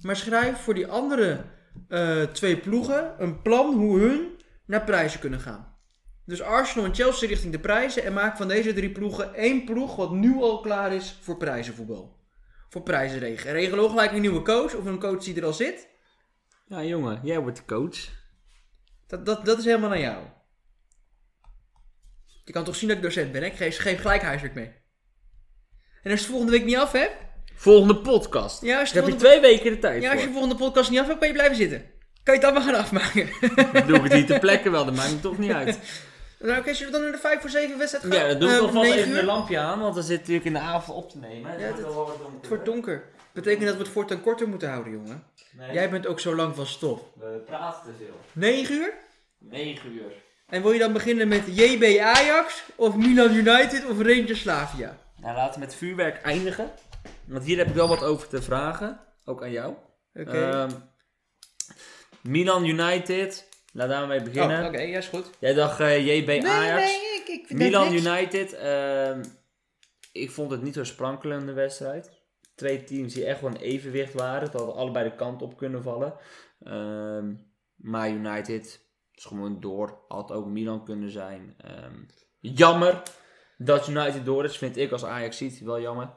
S1: Maar schrijf voor die andere eh, twee ploegen een plan hoe hun naar prijzen kunnen gaan. Dus Arsenal en Chelsea richting de prijzen. En maak van deze drie ploegen één ploeg wat nu al klaar is voor prijzenvoetbal. Voor prijzenregen. En Regel ook gelijk een nieuwe coach of een coach die er al zit.
S2: Ja, jongen, jij wordt de coach.
S1: Dat, dat, dat is helemaal aan jou. Je kan toch zien dat ik docent ben, hè? Ik geef, geef gelijk huiswerk mee. En als je het volgende week niet af hebt...
S2: Volgende podcast.
S1: Ja, als je
S2: Daar
S1: het
S2: heb je
S1: volgende
S2: twee weken de tijd
S1: Ja, als je de
S2: voor.
S1: volgende podcast niet af hebt, kan je blijven zitten. Kan je het allemaal gaan afmaken.
S2: Dan doe ik het niet ter plekke wel, dat maakt me toch
S1: *laughs*
S2: niet uit.
S1: nou, oké, zullen we dan naar de 5 voor 7 wedstrijd gaan?
S2: Ja, dat doe ik
S1: Eh,
S2: alvast
S1: negen
S2: even
S1: uur?
S2: de lampje aan, want dan zit natuurlijk in de avond op te nemen.
S1: Ja,
S2: Het
S1: dat-
S2: wordt wel wat
S1: Het
S2: donker.
S1: wordt donker. Betekent dat we het voortaan korter moeten houden, jongen.
S2: Nee,
S1: Jij bent ook zo lang van stof.
S2: We praten te veel.
S1: 9 uur?
S2: 9 uur.
S1: En wil je dan beginnen met JB Ajax, of Milan United, of Rangers Slavia?
S2: Nou, laten we met vuurwerk eindigen. Want hier heb ik wel wat over te vragen. Ook aan jou.
S1: Oké. Oh,
S2: Ehm, Milan United. Laat daarmee
S1: Oh,
S2: beginnen.
S1: oké, ja, is goed.
S2: Jij dacht eh, JB Ajax.
S1: ik, ik
S2: Milan United. ehm, ik vond het niet zo sprankelende wedstrijd. Twee teams die echt gewoon evenwicht waren. Het hadden allebei de kant op kunnen vallen. Ehm, maar United is gewoon door. Had ook Milan kunnen zijn. Ehm, jammer dat United door is. Vind ik als Ajax ziet wel jammer.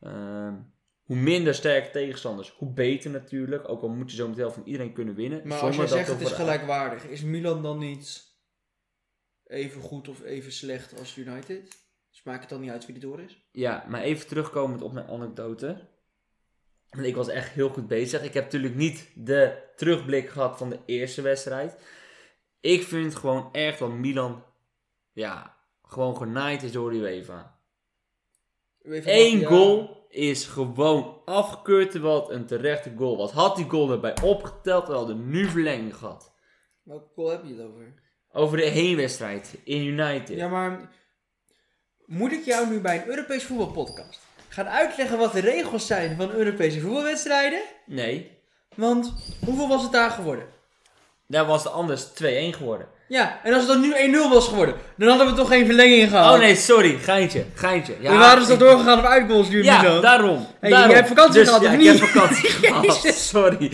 S2: Ehm, hoe minder sterke tegenstanders, hoe beter natuurlijk. Ook al moet je zo meteen van iedereen kunnen winnen.
S1: Maar als
S2: Zonder
S1: jij
S2: dat
S1: zegt
S2: er
S1: het is
S2: voor de-
S1: gelijkwaardig, is Milan dan niet even goed of even slecht als United? Dus maakt het dan niet uit wie er door is?
S2: Ja, maar even terugkomend op mijn anekdote. Want ik was echt heel goed bezig. Ik heb natuurlijk niet de terugblik gehad van de eerste wedstrijd. Ik vind gewoon echt dat Milan, ja, gewoon genaaid is door de UEFA.
S1: Even
S2: Eén
S1: wachten, ja.
S2: goal is gewoon afgekeurd, terwijl het een terechte goal was. Had die goal erbij opgeteld, we hadden nu verlenging gehad.
S1: Welke goal heb je het over?
S2: Over de heenwedstrijd in United.
S1: Ja, maar moet ik jou nu bij een Europees voetbalpodcast gaan uitleggen wat de regels zijn van Europese voetbalwedstrijden?
S2: Nee,
S1: Want hoeveel was het daar geworden?
S2: daar was het anders 2-1 geworden.
S1: Ja, en als het dan nu 1-0 was geworden, dan hadden we toch geen verlenging gehad.
S2: Oh nee, sorry, geintje, geintje. Ja,
S1: we waren ze
S2: ik-
S1: dan doorgegaan op uitgoals nu
S2: Ja,
S1: dan.
S2: daarom.
S1: Hey,
S2: daarom.
S1: jij hebt vakantie
S2: Dus
S1: gehad,
S2: ja,
S1: of
S2: ik
S1: niet?
S2: heb *laughs* vakantie gehad,
S1: Jezus.
S2: sorry.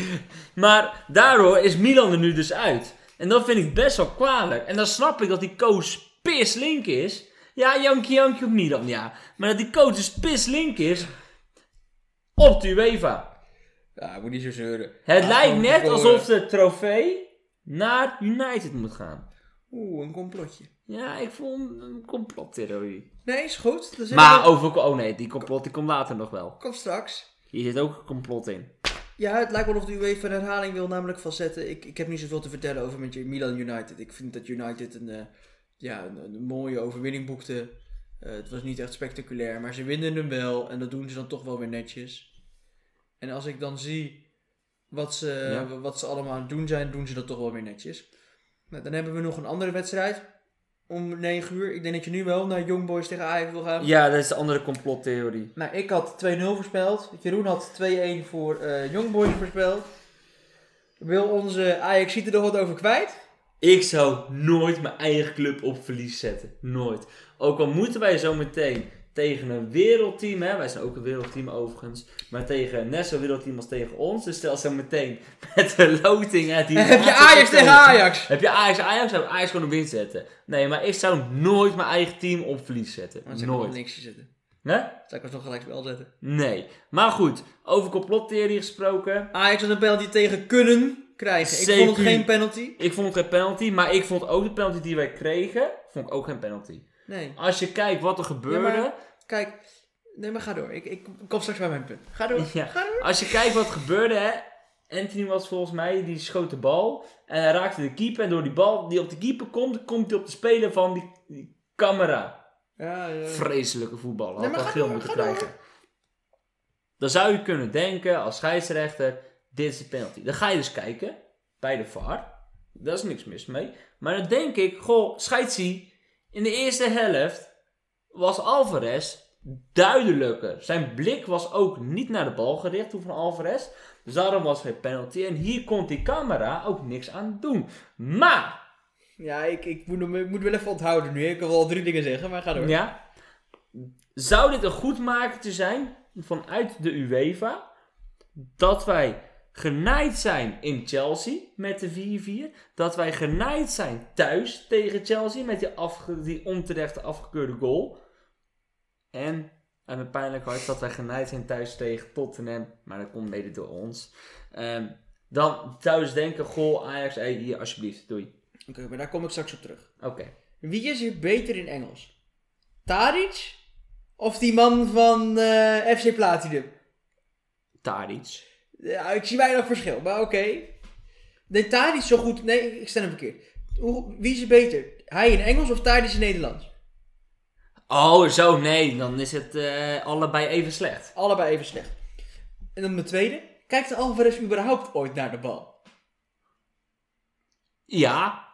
S2: Maar daardoor is Milan er nu dus uit. En dat vind ik best wel kwalijk. En dan snap ik dat die coach pislink is. Ja, jankie jankie op Milan, ja. Maar dat die coach dus pislink is op de UEFA.
S1: Ja, moet niet zo zeuren.
S2: Het
S1: Ja,
S2: lijkt
S1: gewoon
S2: net
S1: verloren.
S2: alsof de trofee naar United moet gaan.
S1: Oeh, een complotje.
S2: Ja, ik voel een, een complottheorie.
S1: Nee, is goed. Dan zitten
S2: Maar
S1: we-
S2: over... Oh nee, die complot die komt later nog wel.
S1: Kom straks.
S2: Hier zit ook een complot in.
S1: Ja, het lijkt wel of de UEFA een herhaling wil namelijk van zetten. Ik, ik heb niet zoveel te vertellen over met Milan United. Ik vind dat United een, eh, ja, een, een mooie overwinning boekte. Eh, het was niet echt spectaculair, maar ze winnen hem wel. En dat doen ze dan toch wel weer netjes. En als ik dan zie wat ze,
S2: Ja.
S1: wat ze allemaal aan het doen zijn, doen ze dat toch wel weer netjes. Nou, dan hebben we nog een andere wedstrijd. Om 9 uur. Ik denk dat je nu wel naar Young Boys tegen Ajax wil gaan.
S2: Ja, dat is de andere complottheorie.
S1: Nou, ik had 2-0 voorspeld. Jeroen had 2-1 voor eh Youngboys voorspeld. Wil onze Ajax ziet er nog wat over *laughs* kwijt?
S2: Ik zou nooit mijn eigen club op verlies zetten. Nooit. Ook al moeten wij zo meteen tegen een wereldteam, hè? wij zijn ook een wereldteam overigens, maar tegen net zo'n wereldteam als tegen ons. Dus stel zo meteen met de loting. Hè,
S1: *laughs*
S2: die
S1: Heb je Ajax tegen Ajax?
S2: Heb je Ajax Ajax? Zou ik Ajax gewoon op winst zetten? Nee, maar ik zou nooit mijn eigen team op verlies zetten.
S1: Maar ze
S2: nooit.
S1: kan niks zetten.
S2: Hè?
S1: Zou ik ons nog gelijk wel zetten.
S2: Nee. Maar goed, over complottheorie gesproken.
S1: Ajax had een penalty tegen kunnen krijgen. Ik vond het
S2: Zeker.
S1: geen penalty.
S2: Ik vond het geen penalty, maar ik vond ook de penalty die wij kregen, vond ik ook geen penalty.
S1: Nee.
S2: Als je kijkt wat er gebeurde.
S1: Ja, maar- Kijk. Nee, maar ga door. Ik, ik kom straks bij mijn punt. Ga door.
S2: Ja.
S1: Ga door.
S2: Als je kijkt wat gebeurde, hè. Anthony was volgens mij, die schoot de bal. En hij raakte de keeper. En door die bal die op de keeper komt, komt hij op de speler van die, die camera.
S1: Ja, ja.
S2: Vreselijke voetballer.
S1: Nee,
S2: Had
S1: maar
S2: al
S1: ga
S2: geel
S1: door,
S2: moeten
S1: ga door.
S2: krijgen. Dan zou je kunnen denken, als scheidsrechter, dit is de penalty. Dan ga je dus kijken, bij de VAR. Daar is niks mis mee. Maar dan denk ik, goh, scheidsie. In de eerste helft was Alvarez duidelijker. Zijn blik was ook niet naar de bal gericht toen van Alvarez. Dus daarom was geen penalty. En hier kon die camera ook niks aan doen. Maar,
S1: ja ik, ik, moet, hem- ik moet wel even onthouden nu. Ik kan wel drie dingen zeggen, maar ga door.
S2: ja, zou dit een goedmakertje zijn vanuit de UEFA dat wij genaaid zijn in Chelsea met de 4-4, dat wij genaaid zijn thuis tegen Chelsea met die, afge- die onterechte afgekeurde goal. En uit mijn pijnlijk hart dat wij genaaid zijn thuis tegen Tottenham, maar dat komt mede door ons. Ehm, dan thuis denken, goh Ajax, hey, hier alsjeblieft, doei.
S1: Oké, maar daar kom ik straks op terug.
S2: Oké.
S1: Wie is er beter in Engels? Taric? Of die man van eh, FC Platinum?
S2: Tadic.
S1: Ja, ik zie weinig verschil, maar oké. Nee, Tadic zo goed... Nee, ik stel hem verkeerd. Hoe, wie is er beter? Hij in Engels of Tadic in Nederlands?
S2: Oh, zo nee. Dan is het eh, allebei even slecht.
S1: Allebei even slecht. En dan mijn tweede. Kijkt de Alvarez überhaupt ooit naar de bal?
S2: Ja.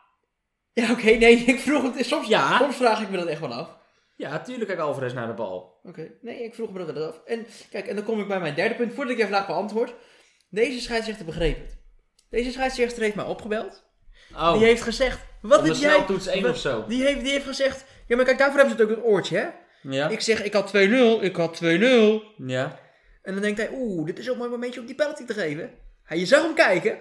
S1: Ja, oké. nee, *laughs* ik vroeg het... Soms,
S2: Ja.
S1: soms vraag ik me dat echt wel af.
S2: Ja, tuurlijk kijkt Alvarez naar de bal.
S1: Oké, nee, ik vroeg me dat wel af. En kijk, en dan kom ik bij mijn derde punt, voordat ik je vraag beantwoord. Deze scheidsrechter begreep het. Deze scheidsrechter heeft mij opgebeld.
S2: Oh,
S1: Die heeft gezegd, wat
S2: Om de
S1: heb jij...
S2: sneltoets één
S1: wat-
S2: of zo.
S1: Die heeft, die heeft gezegd, ja maar kijk, daarvoor hebben ze het ook een oortje, hè?
S2: ja.
S1: Ik zeg, ik had 2-0, ik had 2-0.
S2: ja.
S1: En dan denkt hij, oeh, dit is ook maar een momentje om die penalty te geven. Hij, je zag hem kijken.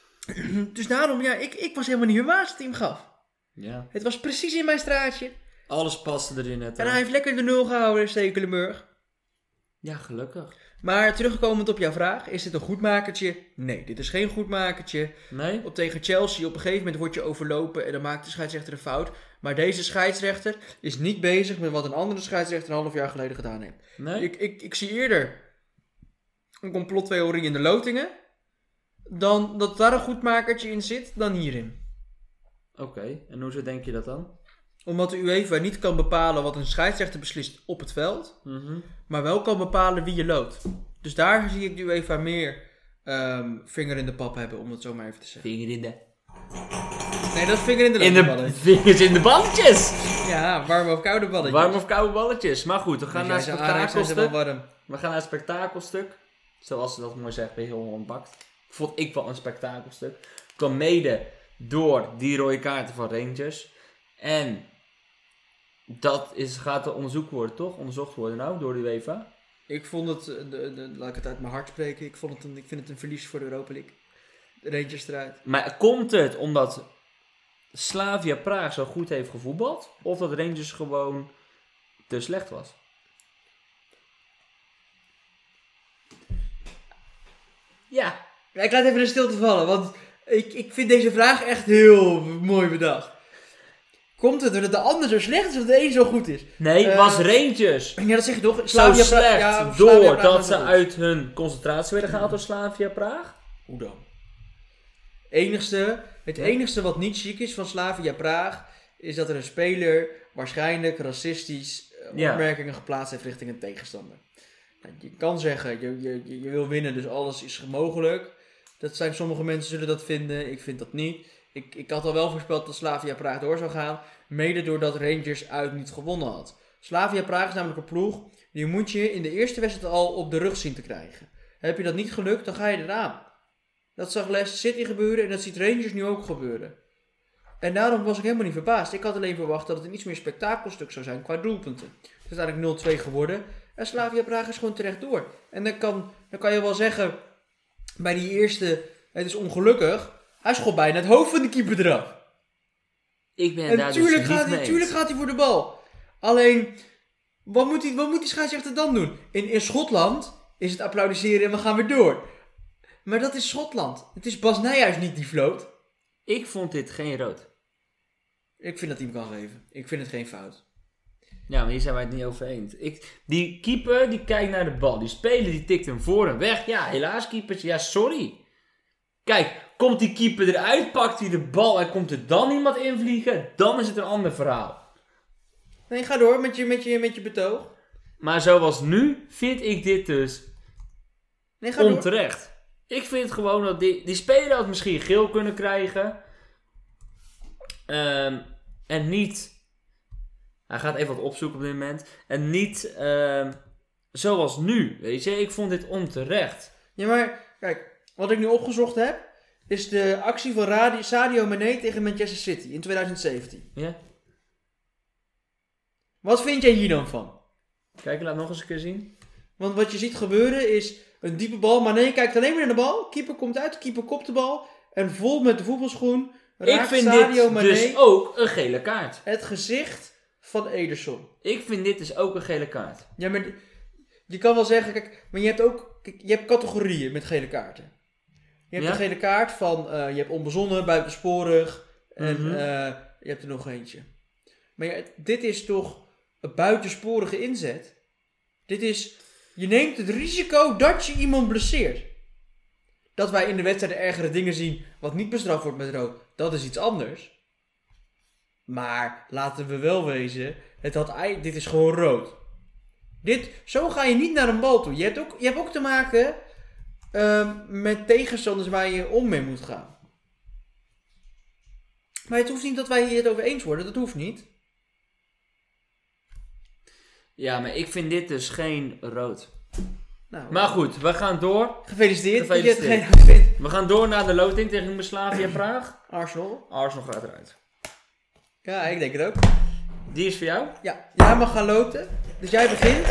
S1: *clears throat* Dus daarom, ja, ik, ik was helemaal niet meer waar het hem gaf.
S2: Ja.
S1: Het was precies in mijn straatje.
S2: Alles paste erin net.
S1: En
S2: hè.
S1: hij heeft lekker de nul gehouden, Stekelenburg.
S2: Ja, gelukkig.
S1: Maar terugkomend op jouw vraag, is dit een goedmakertje? Nee, dit is geen goedmakertje.
S2: Nee?
S1: Op tegen Chelsea, op een gegeven moment word je overlopen en dan maakt de scheidsrechter een fout. Maar deze scheidsrechter is niet bezig met wat een andere scheidsrechter een half jaar geleden gedaan heeft.
S2: Nee?
S1: Ik, ik, ik zie eerder een complottheorie in de lotingen, dan dat daar een goedmakertje in zit, dan hierin.
S2: Oké. En hoezo denk je dat dan?
S1: Omdat de UEFA niet kan bepalen wat een scheidsrechter beslist op het veld,
S2: Mhm.
S1: maar wel kan bepalen wie je loopt. Dus daar zie ik de UEFA meer ehm, vinger in de pap hebben, om het zo maar even te zeggen.
S2: Vinger in de...
S1: Nee, dat is vinger in de
S2: In
S1: lucht.
S2: de
S1: ballen.
S2: vingers in de balletjes.
S1: Ja, warme of koude balletjes.
S2: Warm of koude balletjes. Maar goed, we gaan
S1: Als
S2: naar
S1: jij
S2: het
S1: ze aanraakt, zijn ze wel
S2: spektakelstuk.
S1: warm.
S2: We gaan naar het spektakelstuk. Zoals ze dat mooi zegt bij heel Holland Bakt. Vond ik wel een spektakelstuk. Kwam mede door die rode kaarten van Rangers. En dat is, gaat er onderzoek worden, toch? Onderzocht worden nou door de UEFA.
S1: Ik vond het, eh, de- de- laat ik het uit mijn hart spreken, ik, vond het een, ik vind het een verlies voor de Europa League. De Rangers eruit.
S2: Maar komt het omdat Slavia Praag zo goed heeft gevoetbald? Of dat Rangers gewoon te slecht was? Ja,
S1: Ja, ik laat even een stilte vallen, want ik, ik vind deze vraag echt heel mooi bedacht. Komt het doordat de ander zo slecht is of de een zo goed is?
S2: Nee,
S1: Eh,
S2: was Rangers
S1: Ja, dat zeg je toch?
S2: zo
S1: Slavia Pra-
S2: slecht
S1: ja, Slavia Praag
S2: doordat
S1: was
S2: ze
S1: wel goed.
S2: uit hun concentratie werden gehaald door Slavia Praag?
S1: Hoe dan? Enigste, het enigste wat niet chic is van Slavia Praag is dat er een speler waarschijnlijk racistisch eh,
S2: Ja.
S1: opmerkingen geplaatst heeft richting een tegenstander. Nou, Je kan zeggen, je, je, je- je wil winnen, dus alles is mogelijk. Dat zijn, sommige mensen zullen dat vinden, ik vind dat niet. Ik, ik had al wel voorspeld dat Slavia Praag door zou gaan, mede doordat Rangers uit niet gewonnen had. Slavia Praag is namelijk een ploeg, die moet je in de eerste wedstrijd al op de rug zien te krijgen. Heb je dat niet gelukt, dan ga je eraan. Dat zag Leicester City gebeuren en dat ziet Rangers nu ook gebeuren. En daarom was ik helemaal niet verbaasd. Ik had alleen verwacht dat het een iets meer spektakelstuk zou zijn qua doelpunten. Het is eigenlijk 0-2 geworden. En Slavia Praag is gewoon terecht door. En dan kan, dan kan je wel zeggen, bij die eerste, het is ongelukkig. Hij schot bijna het hoofd van de keeper eraf.
S2: Ik ben
S1: En
S2: daar
S1: tuurlijk,
S2: dus niet
S1: gaat
S2: mee
S1: hij,
S2: eens.
S1: tuurlijk gaat hij voor de bal. Alleen, wat moet die, wat moet die scheidsrechter dan doen? In, in Schotland is het applaudisseren en we gaan weer door. Maar dat is Schotland. Het is Bas Nijhuis niet die floot.
S2: Ik vond dit geen rood.
S1: Ik vind dat hij hem kan geven. Ik vind het geen fout.
S2: Ja, maar hier zijn wij het niet over eens. Ik, die keeper die kijkt naar de bal. Die speler die tikt hem voor en weg. Ja, helaas keepers. Ja, sorry. Kijk, komt die keeper eruit, pakt hij de bal en komt er dan iemand invliegen, dan is het een ander verhaal.
S1: Nee, ga door met je, met je, met je betoog.
S2: Maar zoals nu vind ik dit dus
S1: Nee, ga door.
S2: onterecht. Ik vind gewoon dat die, die speler had misschien geel kunnen krijgen. Ehm, en niet. Hij gaat even wat opzoeken op dit moment. En niet ehm, zoals nu. Weet je, ik vond dit onterecht.
S1: Ja, maar kijk, wat ik nu opgezocht heb, is de actie van Radio, Sadio Mane tegen Manchester City in 2017.
S2: Ja?
S1: Wat vind jij hier dan van?
S2: Kijk, laat nog eens een keer zien.
S1: Want wat je ziet gebeuren is een diepe bal. Maar nee, je kijkt alleen maar naar de bal. Keeper komt uit, keeper kopt de bal. En vol met de voetbalschoen raakt
S2: ik vind
S1: Sadio
S2: dit
S1: Mané
S2: dus ook een gele kaart.
S1: het gezicht van Ederson.
S2: Ik vind dit dus ook een gele kaart.
S1: Ja, maar je kan wel zeggen, kijk, maar je hebt ook kijk, je hebt categorieën met gele kaarten. Je hebt
S2: Ja.
S1: de gele kaart van, eh, je hebt onbezonnen, buitensporig en
S2: Mhm.
S1: eh, je hebt er nog eentje. Maar ja, dit is toch een buitensporige inzet? Dit is, je neemt het risico dat je iemand blesseert. Dat wij in de wedstrijd ergere dingen zien wat niet bestraft wordt met rood, dat is iets anders. Maar laten we wel wezen, het had, ei- dit is gewoon rood. Dit, zo ga je niet naar een bal toe. Je hebt ook, je hebt ook te maken ehm, met tegenstanders waar je om mee moet gaan. Maar het hoeft niet dat wij hier het over eens worden, dat hoeft niet.
S2: Ja, maar ik vind dit dus geen rood.
S1: Nou,
S2: Maar goed, we gaan door.
S1: gefeliciteerd. dat Je hebt
S2: Gefeliciteerd.
S1: geen vindt.
S2: We gaan door naar de loting tegen Beslavia Praag.
S1: Arsenal.
S2: Arsenal gaat eruit.
S1: Ja, ik denk het ook.
S2: Die is voor jou.
S1: Ja, jij mag gaan loten. Dus jij begint.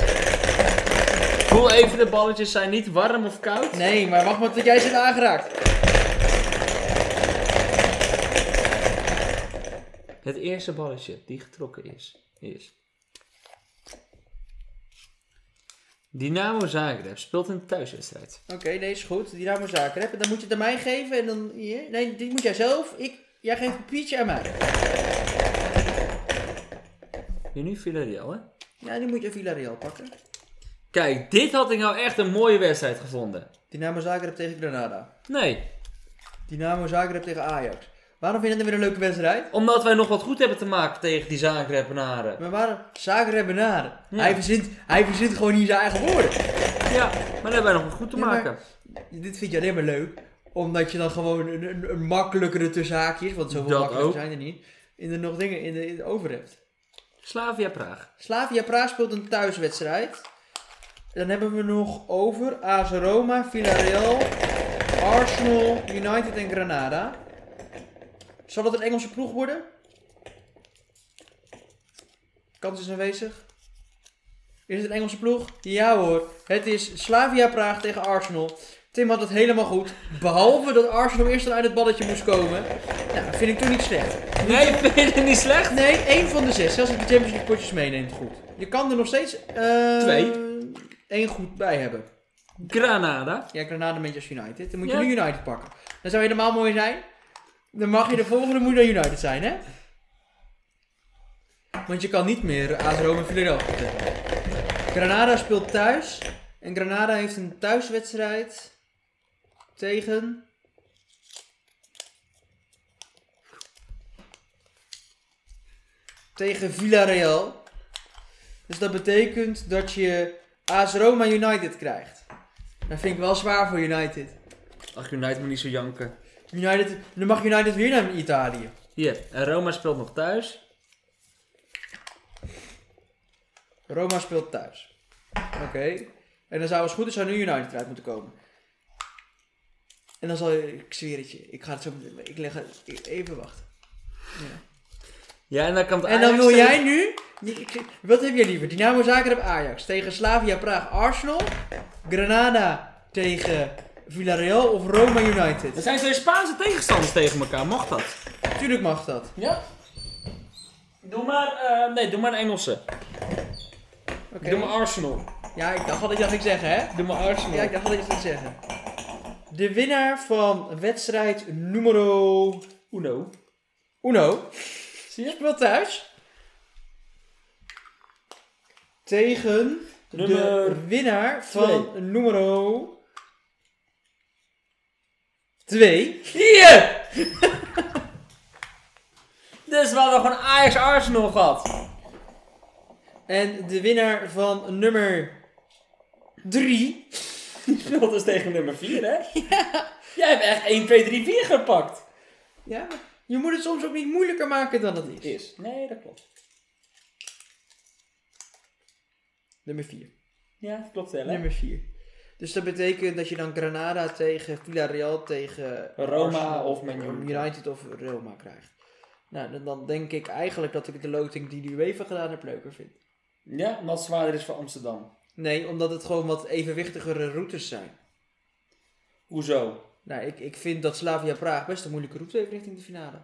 S2: Voel even, de balletjes zijn niet warm of koud.
S1: Nee, maar wacht maar tot jij zit aangeraakt.
S2: Het eerste balletje die getrokken is, is... Dynamo Zagreb speelt een thuiswedstrijd.
S1: Oké, nee, is goed. Die ramen zaken hebben. Dan moet je het aan mij geven en dan hier. Nee, die moet jij zelf. Ik, jij geeft een papiertje aan mij.
S2: En nu Villarreal, hè?
S1: Ja, die moet je Villarreal pakken.
S2: Kijk, dit had ik nou echt een mooie wedstrijd gevonden.
S1: Dynamo Zagreb tegen Granada.
S2: Nee,
S1: Dynamo Zagreb tegen Ajax. Waarom vind je dat weer een leuke wedstrijd?
S2: omdat wij nog wat goed hebben te maken tegen die Zagrebenaren.
S1: Maar waarom? Zagreb benaderen.
S2: Ja.
S1: Hij, verzint, hij verzint gewoon hier zijn eigen woorden.
S2: Ja, maar daar hebben wij nog wat goed te
S1: Ja,
S2: maken.
S1: maar- Dit vind je alleen maar leuk Omdat je dan gewoon een, een, een makkelijkere tussen haakjes, want zoveel
S2: Dat
S1: makkelijker
S2: ook.
S1: zijn er niet, in de nog dingen in de, in de over hebt.
S2: Slavia Praag.
S1: Slavia Praag speelt een thuiswedstrijd. Dan hebben we nog over AS Roma, Villarreal, Arsenal, United en Granada. Zal dat een Engelse ploeg worden? Kans is aanwezig. Is het een Engelse ploeg? Ja hoor. Het is Slavia Praag tegen Arsenal. Tim had het helemaal goed. Behalve dat Arsenal eerst al uit het balletje moest komen. Nou, dat vind ik toen niet slecht.
S2: Nee, *laughs* vind je het niet slecht?
S1: Nee, één van de zes. Zelfs als je de Champions League potjes meeneemt, goed. Je kan er nog steeds... eh,
S2: Twee.
S1: één goed bij hebben.
S2: Granada.
S1: Ja, Granada Manchester United. Dan moet
S2: Ja.
S1: je nu United pakken. Dan zou helemaal mooi zijn. Dan mag je de volgende moet dan United zijn, hè? Want je kan niet meer AS Roma en Villarreal goed hebben. Granada speelt thuis. En Granada heeft een thuiswedstrijd tegen... Tegen Villarreal. Dus dat betekent dat je AS Roma United krijgt. Dat vind ik wel zwaar voor United.
S2: Ach, United moet niet zo janken.
S1: United dan mag United weer naar Italië.
S2: Hier, en Roma speelt nog thuis.
S1: Roma speelt thuis. Oké. En dan zou als het goed is, zou nu United eruit moeten komen. En dan zal je, ik zweer het je, ik ga het zo meteen- ik leg het, ik- even wachten.
S2: Ja, en dan kan het
S1: En dan
S2: Ajax
S1: wil
S2: tegen-
S1: jij nu, ik- ik- wat heb jij liever? Dynamo Zagreb Ajax tegen Slavia Praag Arsenal, Granada tegen Villarreal of Roma
S2: Er
S1: United?
S2: zijn twee Spaanse tegenstanders tegen elkaar, mag dat?
S1: Tuurlijk mag dat.
S2: Ja. Doe maar, eh, nee, doe maar een Engelse.
S1: Oké.
S2: Doe maar Arsenal.
S1: Ja, ik dacht al dat je dat ging zeggen, hè?
S2: Doe maar Arsenal.
S1: Ja, ik dacht dat ik het ging zeggen. De winnaar van wedstrijd numero
S2: Uno.
S1: uno
S2: Zie je?
S1: speelt thuis tegen de
S2: Nummer
S1: winnaar van numero 2.
S2: Hier! *laughs* dus we hadden gewoon Ajax-Arsenal gehad.
S1: En de winnaar van nummer 3.
S2: Die speelt dus tegen nummer 4, hè? *laughs* Ja. Jij hebt echt 1, 2, 3, 4 gepakt.
S1: Ja, maar je moet het soms ook niet moeilijker maken dan het is.
S2: Is. Nee, dat klopt.
S1: Nummer 4.
S2: Ja, dat klopt wel, hè?
S1: Nummer 4. Dus dat betekent dat je dan Granada tegen Villarreal tegen
S2: Roma
S1: Arsenal
S2: of Man United.
S1: United of Roma krijgt. Nou, dan, dan denk ik eigenlijk dat ik de loting die de UEFA gedaan heeft leuker vind.
S2: Ja, omdat het zwaarder is voor Amsterdam.
S1: Nee, omdat het gewoon wat evenwichtigere routes zijn.
S2: Hoezo?
S1: Nou, ik, ik vind dat Slavia Praag best een moeilijke route heeft richting de finale.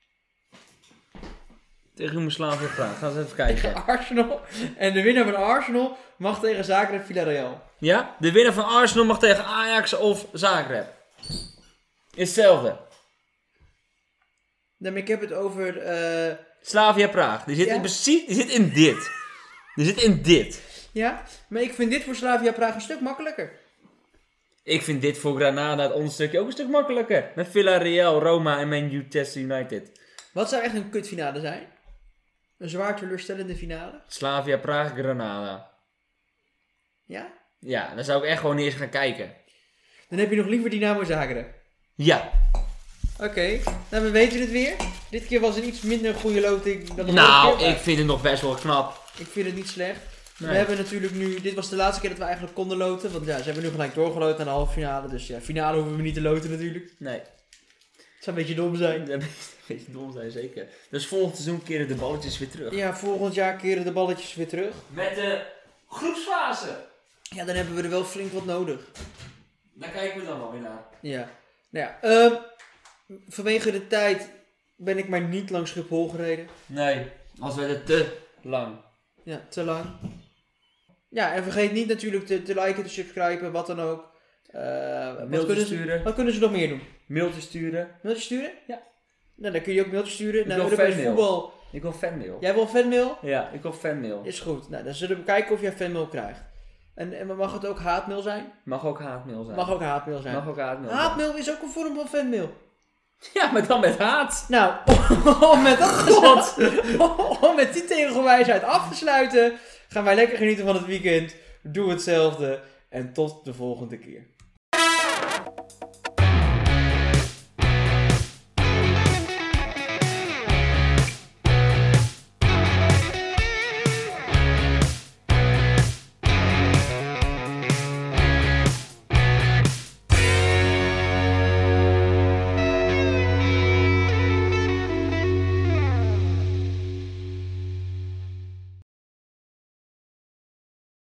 S1: *laughs*
S2: Tegen hoe slaan voor Praag. Gaan we eens even kijken.
S1: Arsenal. En de winnaar van Arsenal mag tegen Zagreb Villarreal.
S2: Ja? De winnaar van Arsenal mag tegen Ajax of Zagreb. Is hetzelfde.
S1: Nee, Nou, maar ik heb het over... eh,
S2: Slavia Praag. Die zit,
S1: Ja.
S2: in, precies, die zit in dit. Die zit in dit.
S1: ja, maar ik vind dit voor Slavia Praag een stuk makkelijker.
S2: Ik vind dit voor Granada het onderstukje ook een stuk makkelijker. Met Villarreal, Roma en Manchester United.
S1: Wat zou echt een kutfinale zijn? Een zwaar teleurstellende finale?
S2: Slavia Praag, Granada.
S1: Ja?
S2: Ja, dan zou ik echt gewoon eerst gaan kijken.
S1: Dan heb je nog liever Dynamo Zagreb.
S2: Ja.
S1: Oké, nou we weten het weer. Dit keer was een iets minder goede loting dan de vorige
S2: Nou,
S1: keer, maar
S2: ik vind het nog best wel knap.
S1: ik vind het niet slecht. We
S2: Nee.
S1: hebben natuurlijk nu, dit was de laatste keer dat we eigenlijk konden loten. Want ja, ze hebben nu gelijk doorgeloten naar de halve finale. Dus ja, finale hoeven we niet te loten natuurlijk.
S2: Nee.
S1: Het zou een beetje dom zijn.
S2: Dat is dom zijn, zeker. Dus volgend seizoen keren de balletjes weer terug.
S1: Ja, volgend jaar keren de balletjes weer terug.
S2: Met de groepsfase.
S1: Ja, dan hebben we er wel flink wat nodig.
S2: Daar kijken we dan wel weer naar.
S1: Ja. Nou ja, ehm, vanwege de tijd ben ik maar niet langs Schiphol gereden.
S2: Nee, als we het te lang.
S1: Ja, te lang. Ja, en vergeet niet natuurlijk te, te liken, te subscriben, wat dan ook. Eh, wat,
S2: Mailtjes
S1: kunnen ze,
S2: sturen.
S1: wat kunnen ze nog meer doen?
S2: Mailtje sturen.
S1: Mailtjes sturen?
S2: Ja.
S1: Nou, dan kun je ook mailtjes sturen naar
S2: wil
S1: Europees
S2: fanmail.
S1: Voetbal.
S2: Ik wil fanmail. Ja,
S1: Jij wil fanmail?
S2: ik wil fanmail.
S1: Is goed. Nou, dan zullen we kijken of jij fanmail krijgt. En, en mag het ook haatmail zijn?
S2: Mag ook haatmail zijn.
S1: Mag ook haatmail zijn.
S2: Mag ook haatmail zijn.
S1: Haatmail is ook een vorm van fanmail.
S2: Ja, maar dan met haat.
S1: Nou, *laughs* om met dat gezond, *laughs* om met die tegelwijsheid af te sluiten, gaan wij lekker genieten van het weekend. Doe hetzelfde en tot de volgende keer.